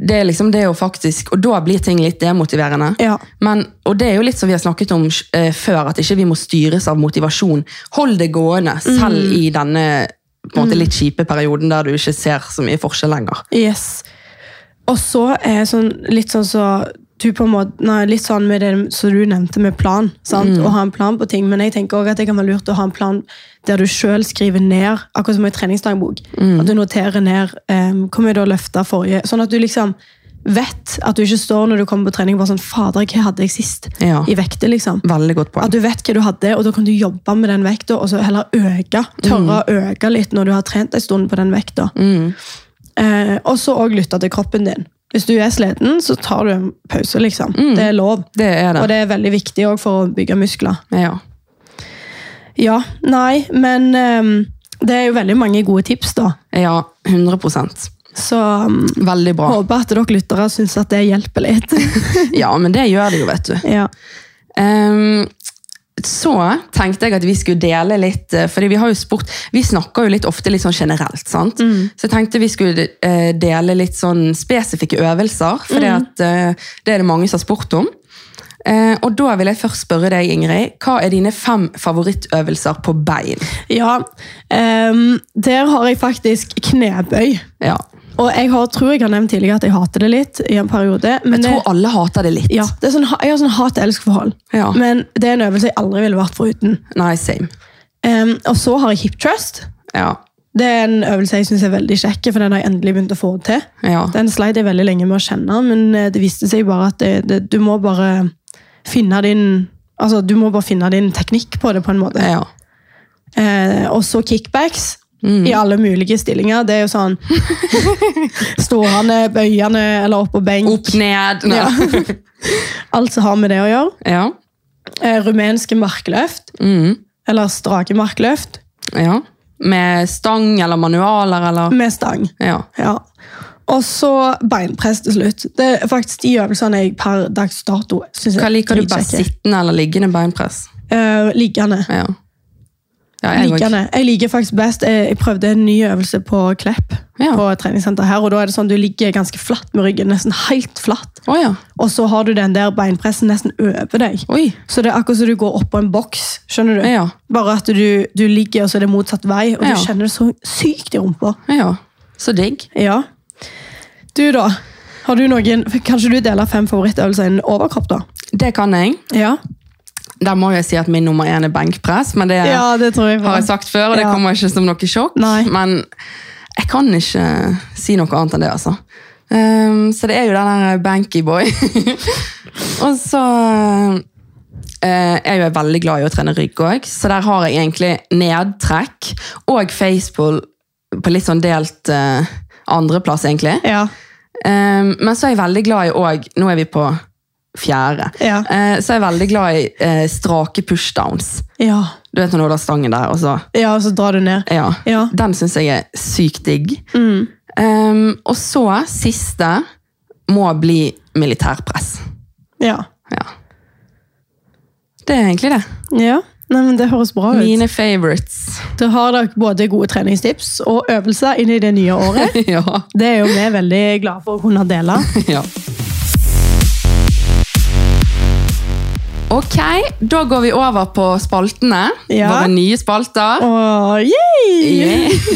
[SPEAKER 2] det er liksom det å faktisk, og da blir ting litt demotiverende.
[SPEAKER 1] Ja.
[SPEAKER 2] Men, og det er jo litt som vi har snakket om eh, før, at ikke vi må styres av motivasjon. Hold det gående,
[SPEAKER 1] Mm.
[SPEAKER 2] selv i denne på en måte, litt kjipe perioden der du ikke ser så mye forskjell lenger.
[SPEAKER 1] Yes. Og så er sånn, litt sånn så du på en måte, nei, litt sånn med det som du nevnte med plan, sant? å ha en plan på ting, men jeg tenker også at det kan være lurt å ha en plan der du selv skriver ned, akkurat som i treningsdagbok, at du noterer ned um, hvor mye du har løftet forrige, sånn at du liksom vet at du ikke står når du kommer på trening og bare sånn, fader, hva hadde jeg sist
[SPEAKER 2] Ja.
[SPEAKER 1] i vekte, liksom?
[SPEAKER 2] Veldig godt
[SPEAKER 1] At
[SPEAKER 2] poeng.
[SPEAKER 1] du vet hva du hadde, og da kan du jobbe med den vekta, og så heller øke. Tørre å øke litt når du har trent en stund på den vekta. Eh, og så òg lytte til kroppen din. Hvis du er sliten, så tar du en pause, liksom. Det er lov.
[SPEAKER 2] Det er
[SPEAKER 1] Og
[SPEAKER 2] det.
[SPEAKER 1] det er veldig viktig òg for å bygge muskler.
[SPEAKER 2] Ja.
[SPEAKER 1] Ja, nei, men ehm, det er jo veldig mange gode tips, da.
[SPEAKER 2] ja, 100
[SPEAKER 1] Så um,
[SPEAKER 2] Veldig bra.
[SPEAKER 1] håper at dere lyttere syns at det hjelper litt.
[SPEAKER 2] Ja, men det gjør det jo, vet du.
[SPEAKER 1] ja.
[SPEAKER 2] Ehm, så tenkte jeg at vi skulle dele litt, eh, fordi vi har jo spurt, vi snakker jo litt ofte litt sånn generelt, sant?
[SPEAKER 1] Mm.
[SPEAKER 2] Så jeg tenkte vi skulle eh, dele litt sånn spesifikke øvelser, for
[SPEAKER 1] Mm.
[SPEAKER 2] at, eh, det er det mange som har spurt om. Eh, og da vil jeg først spørre deg, Ingrid, hva er dine fem favorittøvelser på bein?
[SPEAKER 1] ja ehm, der har jeg faktisk knebøy.
[SPEAKER 2] Ja,
[SPEAKER 1] Og jeg har, tror jeg har nevnt tidligere at jeg hater det litt i en periode. Men
[SPEAKER 2] Jeg
[SPEAKER 1] det,
[SPEAKER 2] tror alle hater det litt.
[SPEAKER 1] ja, det er sånn, ha- jeg har sånn hat-elsk-forhold.
[SPEAKER 2] Ja.
[SPEAKER 1] Men det er en øvelse jeg aldri ville vært foruten.
[SPEAKER 2] Nei, same.
[SPEAKER 1] Em, og så har jeg hip trust.
[SPEAKER 2] Ja.
[SPEAKER 1] Det er en øvelse jeg synes er veldig kjekk, for den har jeg endelig begynt å få til.
[SPEAKER 2] ja.
[SPEAKER 1] Den sleit jeg veldig lenge med å kjenne, men eh, det viste seg bare at det, det, du må bare finne din Altså, du må bare finne din teknikk på det, på en måte.
[SPEAKER 2] ja.
[SPEAKER 1] Eh, og så kickbacks
[SPEAKER 2] Mm.
[SPEAKER 1] i alle mulige stillinger. Det er jo sånn Stående, bøyende eller oppå benk.
[SPEAKER 2] Opp, ned. Nei.
[SPEAKER 1] Ja. Alt som har med det å gjøre.
[SPEAKER 2] Ja.
[SPEAKER 1] Eh, rumenske markløft,
[SPEAKER 2] Mm.
[SPEAKER 1] eller strake markløft,
[SPEAKER 2] ja. Med stang eller manualer eller
[SPEAKER 1] med stang.
[SPEAKER 2] Ja.
[SPEAKER 1] Ja. Og så beinpress til slutt. Det er faktisk de øvelsene jeg per dags dato synes
[SPEAKER 2] Hva
[SPEAKER 1] er
[SPEAKER 2] liker du best?
[SPEAKER 1] dritkjekke.
[SPEAKER 2] Sittende eller liggende beinpress?
[SPEAKER 1] Eh, liggende.
[SPEAKER 2] Ja. Ja, jeg òg.
[SPEAKER 1] Liggende. Jeg liker faktisk best eh, Jeg prøvde en ny øvelse på Klepp.
[SPEAKER 2] Ja.
[SPEAKER 1] På et treningssenter her, og da er det sånn Du ligger ganske flatt med ryggen, nesten helt flatt.
[SPEAKER 2] Å ja.
[SPEAKER 1] Og så har du den der beinpressen nesten over deg.
[SPEAKER 2] Oi.
[SPEAKER 1] Så det er akkurat som du går oppå en boks. skjønner du?
[SPEAKER 2] Ja.
[SPEAKER 1] Bare at du, du ligger, og så er det motsatt vei, og
[SPEAKER 2] Ja.
[SPEAKER 1] du kjenner det så sykt i rumpa.
[SPEAKER 2] ja. Så digg.
[SPEAKER 1] Ja. Du, da? Har du noen, Kanskje du deler fem favorittøvelser innen overkropp, da?
[SPEAKER 2] Det kan jeg.
[SPEAKER 1] Ja,
[SPEAKER 2] Der må jeg si at min nummer én er benkpress, men det
[SPEAKER 1] ja det tror jeg.
[SPEAKER 2] har jeg sagt før, og det
[SPEAKER 1] Ja.
[SPEAKER 2] kommer ikke som noe sjokk.
[SPEAKER 1] Nei.
[SPEAKER 2] Men jeg kan ikke si noe annet enn det, altså. Ehm, så det er jo den der banky boy. og så eh, er jo jeg veldig glad i å trene rygg òg, så der har jeg egentlig nedtrekk og facepull på litt sånn delt eh, andreplass, egentlig.
[SPEAKER 1] Ja.
[SPEAKER 2] Ehm, men så er jeg veldig glad i òg Nå er vi på fjerde.
[SPEAKER 1] Ja.
[SPEAKER 2] Eh, så er jeg veldig glad i eh, strake pushdowns.
[SPEAKER 1] Ja.
[SPEAKER 2] Du vet når du holder stangen der, og så
[SPEAKER 1] ja, og så drar du ned.
[SPEAKER 2] Ja.
[SPEAKER 1] Ja.
[SPEAKER 2] Den syns jeg er sykt digg.
[SPEAKER 1] Mm.
[SPEAKER 2] Ehm, og så, siste, må bli militærpress.
[SPEAKER 1] Ja.
[SPEAKER 2] Ja. Det er egentlig det.
[SPEAKER 1] ja. Nei, men Det høres bra ut.
[SPEAKER 2] Mine favorites.
[SPEAKER 1] Da har dere både gode treningstips og øvelser inn i det nye året.
[SPEAKER 2] ja.
[SPEAKER 1] Det er jo vi veldig glade for å kunne dele.
[SPEAKER 2] ja. Ok, da går vi over på spaltene.
[SPEAKER 1] Ja.
[SPEAKER 2] Våre nye spalter.
[SPEAKER 1] Og yay!
[SPEAKER 2] Yeah.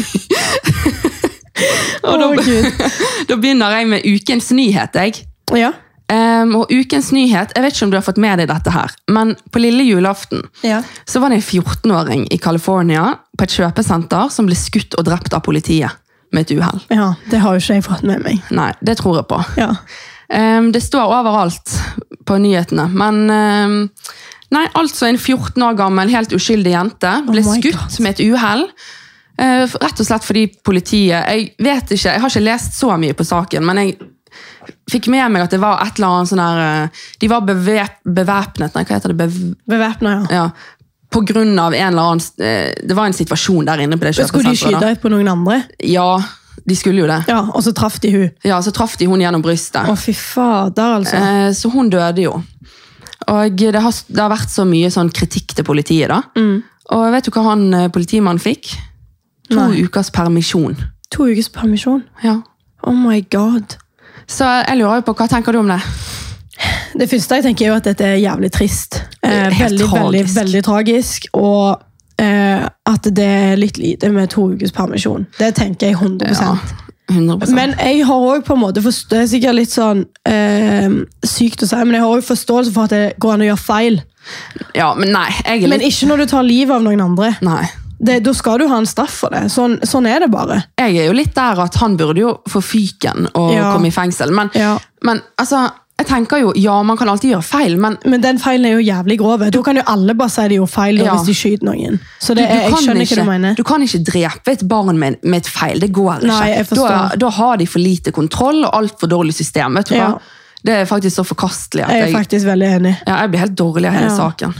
[SPEAKER 1] Å, Gud.
[SPEAKER 2] Da begynner jeg med ukens nyhet. jeg.
[SPEAKER 1] Ja.
[SPEAKER 2] Ehm, og ukens nyhet, Jeg vet ikke om du har fått med deg dette, her, men på lille julaften
[SPEAKER 1] Ja.
[SPEAKER 2] så var det en 14-åring i California på et kjøpesenter som ble skutt og drept av politiet med et uhell.
[SPEAKER 1] ja. Det har jo ikke jeg fått med meg.
[SPEAKER 2] Nei, det tror jeg på.
[SPEAKER 1] Ja.
[SPEAKER 2] Ehm, det står overalt på nyhetene, men ehm, Nei, altså en 14 år gammel, helt uskyldig jente ble
[SPEAKER 1] Oh my
[SPEAKER 2] skutt med et uhell. Eh, rett og slett fordi politiet Jeg vet ikke, jeg har ikke lest så mye på saken, men jeg fikk med meg at det var et eller annet sånn her eh, De var bevep, bevæpnet Nei, hva heter det? Bev,
[SPEAKER 1] Bevæpna, ja.
[SPEAKER 2] ja, på grunn av en eller annen eh, Det var en situasjon der inne på det
[SPEAKER 1] Skulle de
[SPEAKER 2] kjøpesenteret. da.
[SPEAKER 1] skyte på noen andre?
[SPEAKER 2] Ja, de skulle jo det.
[SPEAKER 1] Ja, og så traff de hun.
[SPEAKER 2] Ja, Så traff de hun gjennom brystet.
[SPEAKER 1] Å, fy fader, altså.
[SPEAKER 2] Eh, Så hun døde jo. Og det har, det har vært så mye sånn kritikk til politiet, da.
[SPEAKER 1] Mm.
[SPEAKER 2] Og vet du hva han eh, politimannen fikk? To
[SPEAKER 1] Nei.
[SPEAKER 2] ukers permisjon.
[SPEAKER 1] To ukers permisjon.
[SPEAKER 2] Ja.
[SPEAKER 1] Oh my god.
[SPEAKER 2] Så jeg lurer jo på, hva tenker du om det?
[SPEAKER 1] Det første jeg tenker er jo at dette er jævlig trist. Eh,
[SPEAKER 2] Helt
[SPEAKER 1] veldig, veldig,
[SPEAKER 2] tragisk.
[SPEAKER 1] veldig tragisk. Og eh, at det er litt lite med to ukers permisjon. Det tenker jeg 100
[SPEAKER 2] Ja, 100
[SPEAKER 1] Men jeg har òg på en måte forst- Det er sikkert litt sånn eh, sykt å si, men jeg har òg forståelse for at det går an å gjøre feil.
[SPEAKER 2] Ja, men nei, jeg er
[SPEAKER 1] Men
[SPEAKER 2] litt
[SPEAKER 1] ikke når du tar livet av noen andre.
[SPEAKER 2] Nei.
[SPEAKER 1] Det, da skal du ha en straff for det. Sånn, sånn er det bare.
[SPEAKER 2] Jeg er jo litt der at han burde jo få fyken og
[SPEAKER 1] Ja.
[SPEAKER 2] komme i fengsel. Men,
[SPEAKER 1] Ja.
[SPEAKER 2] men altså, jeg tenker jo, ja, man kan alltid gjøre feil, men
[SPEAKER 1] Men den feilen er jo jævlig grov. Da kan jo alle bare si de gjorde feil da,
[SPEAKER 2] Ja.
[SPEAKER 1] hvis de skyter noen. Så det er, jeg skjønner hva
[SPEAKER 2] ikke,
[SPEAKER 1] du mener.
[SPEAKER 2] du kan ikke drepe et barn med, med et feil. Det går ikke.
[SPEAKER 1] Nei, jeg
[SPEAKER 2] da,
[SPEAKER 1] forstår.
[SPEAKER 2] da har de for lite kontroll og altfor dårlig system. vet du
[SPEAKER 1] Ja.
[SPEAKER 2] hva? Det er faktisk så forkastelig at
[SPEAKER 1] Jeg er
[SPEAKER 2] jeg,
[SPEAKER 1] faktisk veldig enig.
[SPEAKER 2] ja, jeg blir helt dårlig av hele
[SPEAKER 1] Ja.
[SPEAKER 2] saken.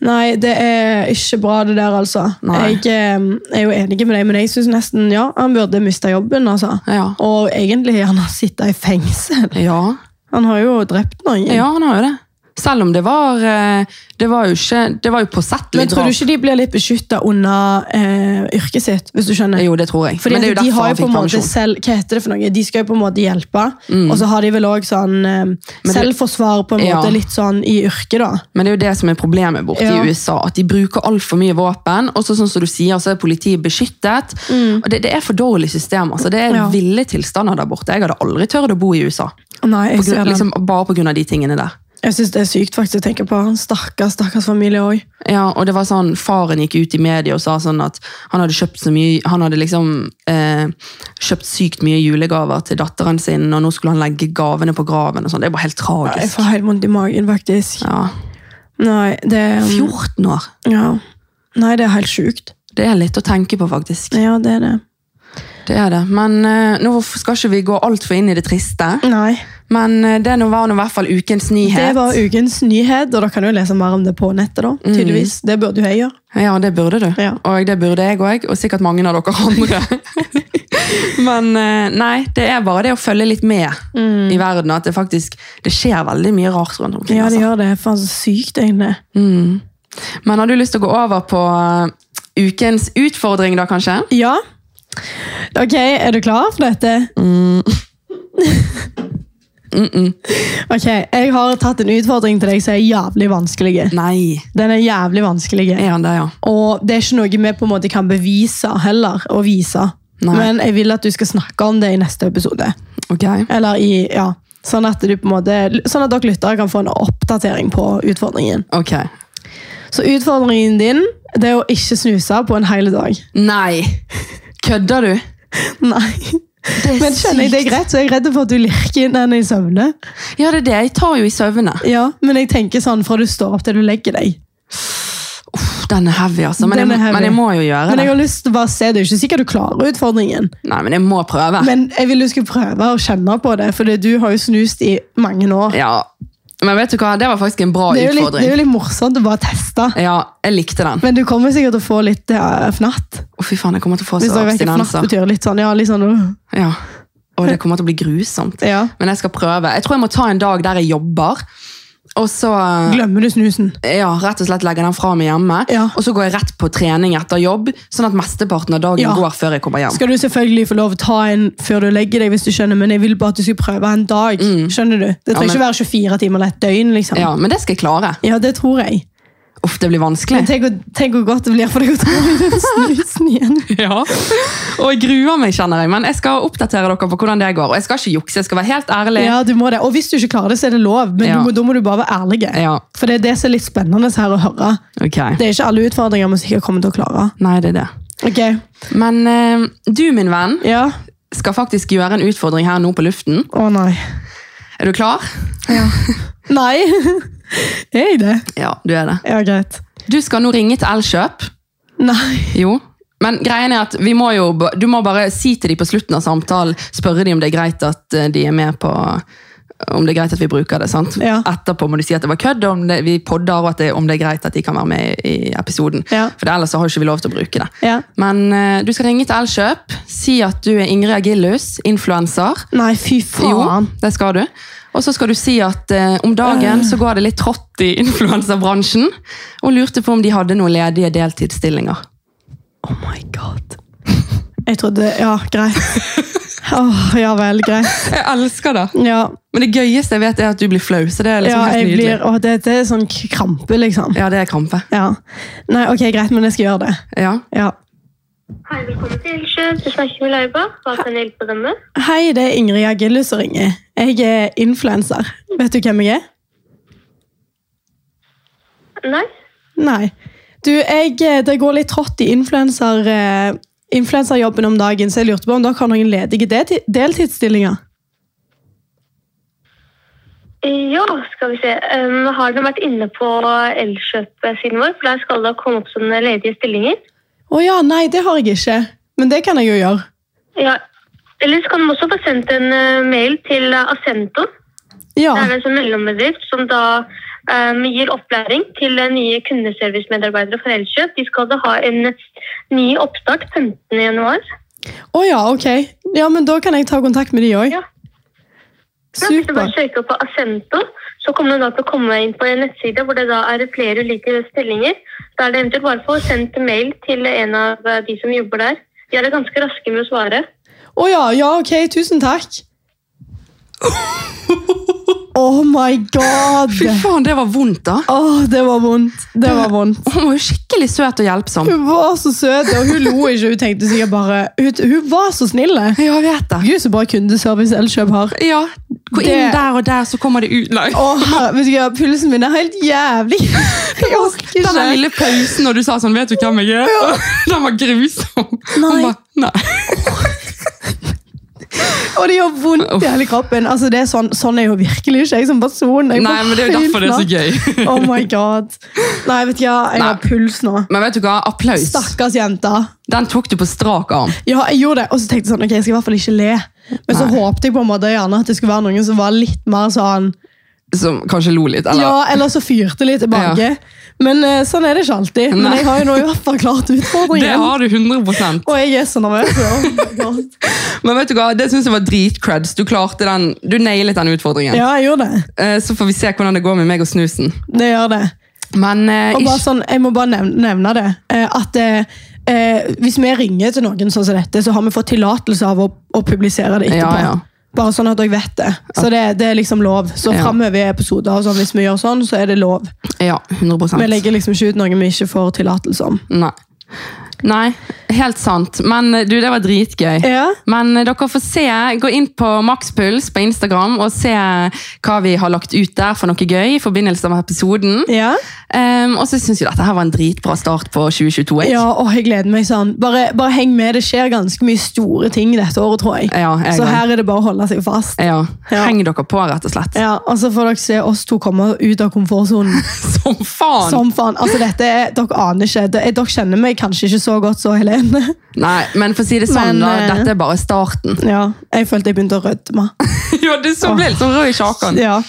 [SPEAKER 1] Nei, det er ikke bra det der, altså.
[SPEAKER 2] Nei.
[SPEAKER 1] Jeg eh, er jo enig med deg, men jeg syns nesten ja, han burde mista jobben. altså.
[SPEAKER 2] Ja.
[SPEAKER 1] Og egentlig han har sittet i fengsel.
[SPEAKER 2] Ja.
[SPEAKER 1] Han har jo drept noen.
[SPEAKER 2] ja, han har jo det. Selv om det var eh, Det var jo ikke Det var jo påsettlig
[SPEAKER 1] Men tror du ikke de blir litt beskytta under eh, yrket sitt, hvis du skjønner?
[SPEAKER 2] Jo, det tror jeg.
[SPEAKER 1] Fordi
[SPEAKER 2] Men det er jo
[SPEAKER 1] at de
[SPEAKER 2] derfor
[SPEAKER 1] har jo
[SPEAKER 2] han
[SPEAKER 1] på en
[SPEAKER 2] fikk
[SPEAKER 1] måte
[SPEAKER 2] pensjon.
[SPEAKER 1] selv, hva heter det for noe? De skal jo på en måte hjelpe, og så har de vel òg sånn eh,
[SPEAKER 2] det-
[SPEAKER 1] selvforsvar på en
[SPEAKER 2] Ja.
[SPEAKER 1] måte, litt sånn i yrket, da.
[SPEAKER 2] Men det er jo det som er problemet borte
[SPEAKER 1] Ja.
[SPEAKER 2] i USA. At de bruker altfor mye våpen. Og så sånn som du sier, så er politiet beskyttet. Og det, det er for dårlig system. altså. Det er
[SPEAKER 1] Mm. Ja.
[SPEAKER 2] ville tilstander der borte. Jeg hadde aldri tørt å bo i USA.
[SPEAKER 1] Nei, jeg
[SPEAKER 2] På grunn,
[SPEAKER 1] ser den.
[SPEAKER 2] liksom, bare pga. de tingene der.
[SPEAKER 1] Jeg syns det er sykt faktisk å tenke på. Stakkars stakkars familie òg.
[SPEAKER 2] Ja, og det var sånn, Faren gikk ut i media og sa sånn at han hadde kjøpt så mye, han hadde liksom eh, kjøpt sykt mye julegaver til datteren sin, og nå skulle han legge gavene på graven. og sånn. Det er bare helt
[SPEAKER 1] Jeg
[SPEAKER 2] tragisk.
[SPEAKER 1] får helt vondt i magen, faktisk.
[SPEAKER 2] Ja,
[SPEAKER 1] Nei, det um,
[SPEAKER 2] 14 år!
[SPEAKER 1] ja. Nei, det er helt sjukt.
[SPEAKER 2] Det er litt å tenke på, faktisk.
[SPEAKER 1] Ja, det er det.
[SPEAKER 2] Det er det. Men eh, nå skal ikke vi gå altfor inn i det triste.
[SPEAKER 1] Nei.
[SPEAKER 2] Men eh, det nå var nå i hvert fall ukens nyhet. Mm.
[SPEAKER 1] Det var ukens nyhet, og dere kan jo lese mer om det på nettet. da, tydeligvis. Det burde jo jeg gjøre.
[SPEAKER 2] Ja, det burde du.
[SPEAKER 1] Ja.
[SPEAKER 2] Og det burde jeg òg, og sikkert mange av dere andre. Men eh, nei, det er bare det å følge litt med i verden. At det faktisk det skjer veldig mye rart rundt omkring.
[SPEAKER 1] Mm. Ja, det
[SPEAKER 2] altså.
[SPEAKER 1] gjør det. Faen, så sykt, egentlig.
[SPEAKER 2] Men har du lyst til å gå over på eh, ukens utfordring, da kanskje?
[SPEAKER 1] Ja. Ok, er du klar for dette?
[SPEAKER 2] Mm.
[SPEAKER 1] Ok, jeg har tatt en utfordring til deg som er jævlig vanskelig.
[SPEAKER 2] Nei.
[SPEAKER 1] Den er jævlig vanskelig.
[SPEAKER 2] Er han der, ja?
[SPEAKER 1] Og det er ikke noe vi på en måte kan bevise heller, og vise.
[SPEAKER 2] Nei.
[SPEAKER 1] Men jeg vil at du skal snakke om det i neste episode.
[SPEAKER 2] Ok.
[SPEAKER 1] Eller i, ja, sånn at, du på en måte, sånn at dere lyttere kan få en oppdatering på utfordringen.
[SPEAKER 2] Ok.
[SPEAKER 1] Så utfordringen din det er å ikke snuse på en hel dag.
[SPEAKER 2] Nei! Kødder du?
[SPEAKER 1] Nei. Men skjønner jeg det er greit, så er jeg redd for at du lirker når jeg søvner.
[SPEAKER 2] Ja, det er det. Jeg tar jo i søvne.
[SPEAKER 1] Ja, Men jeg tenker sånn fra du står opp til du legger deg.
[SPEAKER 2] Uff, den er heavy, altså. Men,
[SPEAKER 1] Den
[SPEAKER 2] jeg,
[SPEAKER 1] er heavy.
[SPEAKER 2] men jeg må jo gjøre
[SPEAKER 1] Men jeg
[SPEAKER 2] det.
[SPEAKER 1] har lyst til å bare se, Det er ikke sikkert du klarer utfordringen,
[SPEAKER 2] Nei, men jeg må prøve.
[SPEAKER 1] men jeg vil du skal prøve å kjenne på det. For du har jo snust i mange år.
[SPEAKER 2] Ja. Men vet du hva, det var faktisk en bra
[SPEAKER 1] det er, jo litt, det
[SPEAKER 2] utfordring.
[SPEAKER 1] er jo litt morsomt å bare teste.
[SPEAKER 2] Ja, jeg likte den.
[SPEAKER 1] Men du kommer sikkert til å få litt eh, fnatt.
[SPEAKER 2] Å, fy faen, jeg kommer til å få
[SPEAKER 1] Hvis
[SPEAKER 2] så
[SPEAKER 1] dere vet hva fnatt
[SPEAKER 2] abstinenser.
[SPEAKER 1] betyr. Litt sånn, ja, litt sånn uh,
[SPEAKER 2] Ja. Og det kommer til å bli grusomt.
[SPEAKER 1] ja.
[SPEAKER 2] Men jeg skal prøve. Jeg tror jeg må ta en dag der jeg jobber, og så
[SPEAKER 1] Glemmer du snusen?
[SPEAKER 2] ja, rett og slett legge den fra meg hjemme.
[SPEAKER 1] Ja.
[SPEAKER 2] Og så går jeg rett på trening etter jobb, sånn at mesteparten av dagen
[SPEAKER 1] Ja.
[SPEAKER 2] går før jeg kommer hjem.
[SPEAKER 1] Skal du selvfølgelig få lov å ta en før du legger deg, hvis du skjønner, men jeg vil bare at du skal prøve en dag. Skjønner du? Det trenger
[SPEAKER 2] men-
[SPEAKER 1] ikke være 24 timer eller et døgn. liksom. Mm. Ja,
[SPEAKER 2] Ja, Men det skal jeg klare.
[SPEAKER 1] det tror jeg.
[SPEAKER 2] Uff, det blir
[SPEAKER 1] Men
[SPEAKER 2] vanskelig.
[SPEAKER 1] tenk, hvor- tenk hvor godt det blir for deg å ta den snusen igjen.
[SPEAKER 2] Ja, og jeg gruer meg, kjenner jeg. Men jeg skal oppdatere dere på hvordan det går. Og jeg skal ikke jukse, jeg skal være helt ærlig.
[SPEAKER 1] Ja, du må det. Og hvis du ikke klarer det, så er det lov, men
[SPEAKER 2] Ja.
[SPEAKER 1] du må, da må du bare være ærlig.
[SPEAKER 2] Ja.
[SPEAKER 1] For det er det som er litt spennende her å høre.
[SPEAKER 2] Ok.
[SPEAKER 1] Det er ikke alle utfordringer vi sikkert kommer til å klare.
[SPEAKER 2] Nei, det er det.
[SPEAKER 1] Ok,
[SPEAKER 2] Men eh, du, min venn,
[SPEAKER 1] ja.
[SPEAKER 2] skal faktisk gjøre en utfordring her nå på luften.
[SPEAKER 1] Å nei.
[SPEAKER 2] Er du klar?
[SPEAKER 1] Nei! er jeg det?
[SPEAKER 2] Ja, du er det.
[SPEAKER 1] Ja, greit.
[SPEAKER 2] Du skal nå ringe til Elkjøp.
[SPEAKER 1] Nei.
[SPEAKER 2] Jo. Men greien er at vi må jo, ba- du må bare si til dem på slutten av samtalen, spørre dem om det er greit at eh, de er med på eh, om det er greit at vi bruker det. sant?
[SPEAKER 1] Ja.
[SPEAKER 2] Etterpå må du si at det var kødd, og om det, vi podder, og at det, om det er greit at de kan være med i i episoden.
[SPEAKER 1] Ja.
[SPEAKER 2] For ellers så har jo ikke vi lov til å bruke det.
[SPEAKER 1] Ja.
[SPEAKER 2] Men eh, du skal ringe til Elkjøp, si at du er Ingrid Agillus, influenser.
[SPEAKER 1] Nei, fy
[SPEAKER 2] Jo,
[SPEAKER 1] faen.
[SPEAKER 2] det skal du. Og så skal du si at eh, om dagen så går det litt trått i influenserbransjen, og lurte på om de hadde noen ledige deltidsstillinger.
[SPEAKER 1] Oh my god. Jeg trodde Ja, greit. Åh, ja vel, greit.
[SPEAKER 2] Jeg elsker det.
[SPEAKER 1] Ja,
[SPEAKER 2] Men det gøyeste jeg vet er at du blir flau, så det er liksom
[SPEAKER 1] ja
[SPEAKER 2] helt
[SPEAKER 1] jeg
[SPEAKER 2] nydelig.
[SPEAKER 1] blir Åh, det, det er sånn k- krampe, liksom.
[SPEAKER 2] Ja, det er krampe.
[SPEAKER 1] Ja. Nei, ok, greit, men jeg skal gjøre det.
[SPEAKER 2] Ja.
[SPEAKER 1] Ja.
[SPEAKER 3] Hei, velkommen til Elkjøp. Du snakker med Leiba. Hva kan jeg hjelpe deg med?
[SPEAKER 1] Hei, det er Ingrid Agillus som ringer. Jeg er influenser. Vet du hvem jeg er?
[SPEAKER 3] Nei?
[SPEAKER 1] Nei. Du, jeg, eh, det går litt trått i influenser, eh, influenserjobben om dagen, så jeg lurte på om dere har noen ledige delti- deltidsstillinger?
[SPEAKER 3] Ja, skal vi se. Um, har dere vært inne på Elkjøp-siden vår? For der skal det komme opp sånne ledige stillinger.
[SPEAKER 1] Å ja, nei, det har jeg ikke. Men det kan jeg jo gjøre.
[SPEAKER 3] Ja. Ellers kan man også få sendt en eh, mail til eh, Ascento.
[SPEAKER 1] Ja.
[SPEAKER 3] Det er altså en mellombedrift som da um, gir opplæring til eh, nye kundeservicemedarbeidere for Elkjøp. De skal da ha en eh, ny oppstart 15. januar.
[SPEAKER 1] Å ja, ok. Ja, men da kan jeg ta kontakt med de òg.
[SPEAKER 3] Ja. Ja, Hvis du bare
[SPEAKER 1] Super.
[SPEAKER 3] søker på Ascento, så kommer du da til å komme inn på en nettside hvor det da er flere ulike stillinger. Da er det eventuelt bare å få sendt mail til en av eh, de som jobber der. De er ganske raske med å svare.
[SPEAKER 1] Å ja, ja, ok, tusen takk. Oh my god!
[SPEAKER 2] Fy faen, det var vondt, da.
[SPEAKER 1] Å, det var vondt. Det var vondt.
[SPEAKER 2] Hun var jo skikkelig søt og hjelpsom.
[SPEAKER 1] Hun var så søt, og hun lo ikke. Hun tenkte sikkert bare Hun, hun var så snill.
[SPEAKER 2] Ja, jeg vet det.
[SPEAKER 1] Gud, så bra kundeservice Elkjøp har.
[SPEAKER 2] Ja, Gå inn
[SPEAKER 1] Det-
[SPEAKER 2] der og der, så kommer det ut. Nei.
[SPEAKER 1] Å, herre- vet du hva, Pulsen min er helt jævlig. Jeg orker
[SPEAKER 2] Den der
[SPEAKER 1] ikke.
[SPEAKER 2] lille pausen når du sa sånn 'Vet du hvem jeg er?' Den var grusom. Hun
[SPEAKER 1] Nei.
[SPEAKER 2] bare, nei.
[SPEAKER 1] Og det gjør vondt i hele kroppen. Altså, det er sånn, sånn er jo virkelig ikke jeg som person. Jeg
[SPEAKER 2] nei, men det er jo derfor det er så gøy.
[SPEAKER 1] Oh my god. Nei, vet du hva, jeg har
[SPEAKER 2] Nei.
[SPEAKER 1] puls nå.
[SPEAKER 2] Men vet du hva? Applaus.
[SPEAKER 1] Stakkars jenta.
[SPEAKER 2] Den tok du på strak arm.
[SPEAKER 1] Ja, jeg gjorde det, og så tenkte jeg sånn, ok, jeg skal i hvert fall ikke le. Men så
[SPEAKER 2] Nei.
[SPEAKER 1] håpte jeg på en måte gjerne at det skulle være noen som var litt mer sånn,
[SPEAKER 2] Som kanskje lo litt. Eller?
[SPEAKER 1] ja, eller så fyrte litt tilbake. Men eh, sånn er det ikke alltid. Men
[SPEAKER 2] Nei.
[SPEAKER 1] jeg har jo nå i hvert fall klart
[SPEAKER 2] Det
[SPEAKER 1] utfordringen.
[SPEAKER 2] har du 100
[SPEAKER 1] Og jeg er så nervøs. ja. Oh my god.
[SPEAKER 2] Men vet du hva, det synes jeg var dritcreds. Du klarte den, du nailet den utfordringen.
[SPEAKER 1] Ja, jeg gjorde det.
[SPEAKER 2] Eh, Så får vi se hvordan det går med meg og snusen.
[SPEAKER 1] Det gjør det.
[SPEAKER 2] Men eh,
[SPEAKER 1] Og bare
[SPEAKER 2] ikke,
[SPEAKER 1] sånn, jeg må bare nevne, nevne det. eh, At eh, eh, hvis vi ringer til noen sånn som dette, så har vi fått tillatelse av å, å publisere det etterpå.
[SPEAKER 2] Ja, ja.
[SPEAKER 1] Bare sånn at dere vet det. Så det, det er liksom lov. Så
[SPEAKER 2] Ja.
[SPEAKER 1] fremover i episoder og sånn, hvis vi gjør sånn, så er det lov.
[SPEAKER 2] ja, 100
[SPEAKER 1] Vi legger liksom ikke ut noe vi ikke får tillatelse om.
[SPEAKER 2] Nei. Nei, helt sant. Men eh, du, det var dritgøy.
[SPEAKER 1] Ja.
[SPEAKER 2] Men eh, dere får se, gå inn på Makspuls på Instagram og se hva vi har lagt ut der for noe gøy i forbindelse med episoden.
[SPEAKER 1] Ja,
[SPEAKER 2] Ehm, og så syns jeg dette her var en dritbra start på 2022. jeg.
[SPEAKER 1] ja og jeg gleder meg sånn. Bare, bare heng med, det skjer ganske mye store ting dette året, tror jeg.
[SPEAKER 2] Ja, jeg
[SPEAKER 1] så
[SPEAKER 2] òg.
[SPEAKER 1] her er det bare å holde seg fast.
[SPEAKER 2] ja.
[SPEAKER 1] Ja.
[SPEAKER 2] Heng dere på, rett og slett.
[SPEAKER 1] Ja, Og så får dere se oss to komme ut av komfortsonen.
[SPEAKER 2] Som faen!
[SPEAKER 1] Som faen. Altså, dette er, dere aner ikke. D- Dere kjenner meg kanskje ikke så godt så Helene.
[SPEAKER 2] Nei, men for å si det sånn,
[SPEAKER 1] Men,
[SPEAKER 2] da,
[SPEAKER 1] eh,
[SPEAKER 2] dette er bare starten.
[SPEAKER 1] Ja, jeg følte jeg begynte å rødme.
[SPEAKER 2] ja, du som ble litt sånn rød i sjakan.
[SPEAKER 1] Ja.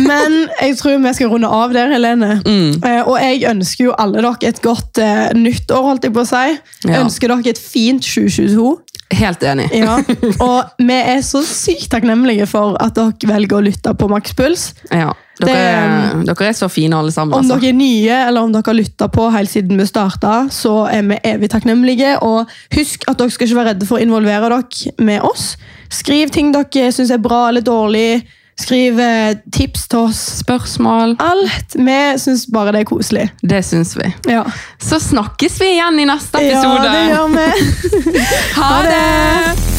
[SPEAKER 1] Men jeg tror vi skal runde av der, Helene.
[SPEAKER 2] Mm.
[SPEAKER 1] Eh, og jeg ønsker jo alle dere et godt eh, nytt år, holdt jeg på å si. Jeg
[SPEAKER 2] Ja.
[SPEAKER 1] ønsker dere et fint 2022.
[SPEAKER 2] Helt enig.
[SPEAKER 1] Ja. Og vi er så sykt takknemlige for at dere velger å lytte på Max Puls.
[SPEAKER 2] Ja. Dere,
[SPEAKER 1] Det- um,
[SPEAKER 2] er- dere er så fine, alle sammen.
[SPEAKER 1] Om
[SPEAKER 2] Altså.
[SPEAKER 1] dere er nye, eller om dere har lytta på helt siden vi starta, så er vi evig takknemlige. Og husk at dere skal ikke være redde for å involvere dere med oss. Skriv ting dere syns er bra eller dårlig. Skriv eh, tips til oss.
[SPEAKER 2] Spørsmål?
[SPEAKER 1] Alt. Vi syns bare det er koselig.
[SPEAKER 2] Det syns vi.
[SPEAKER 1] Ja,
[SPEAKER 2] Så snakkes vi igjen i neste
[SPEAKER 1] ja
[SPEAKER 2] episode.
[SPEAKER 1] det gjør vi.
[SPEAKER 2] Ha det!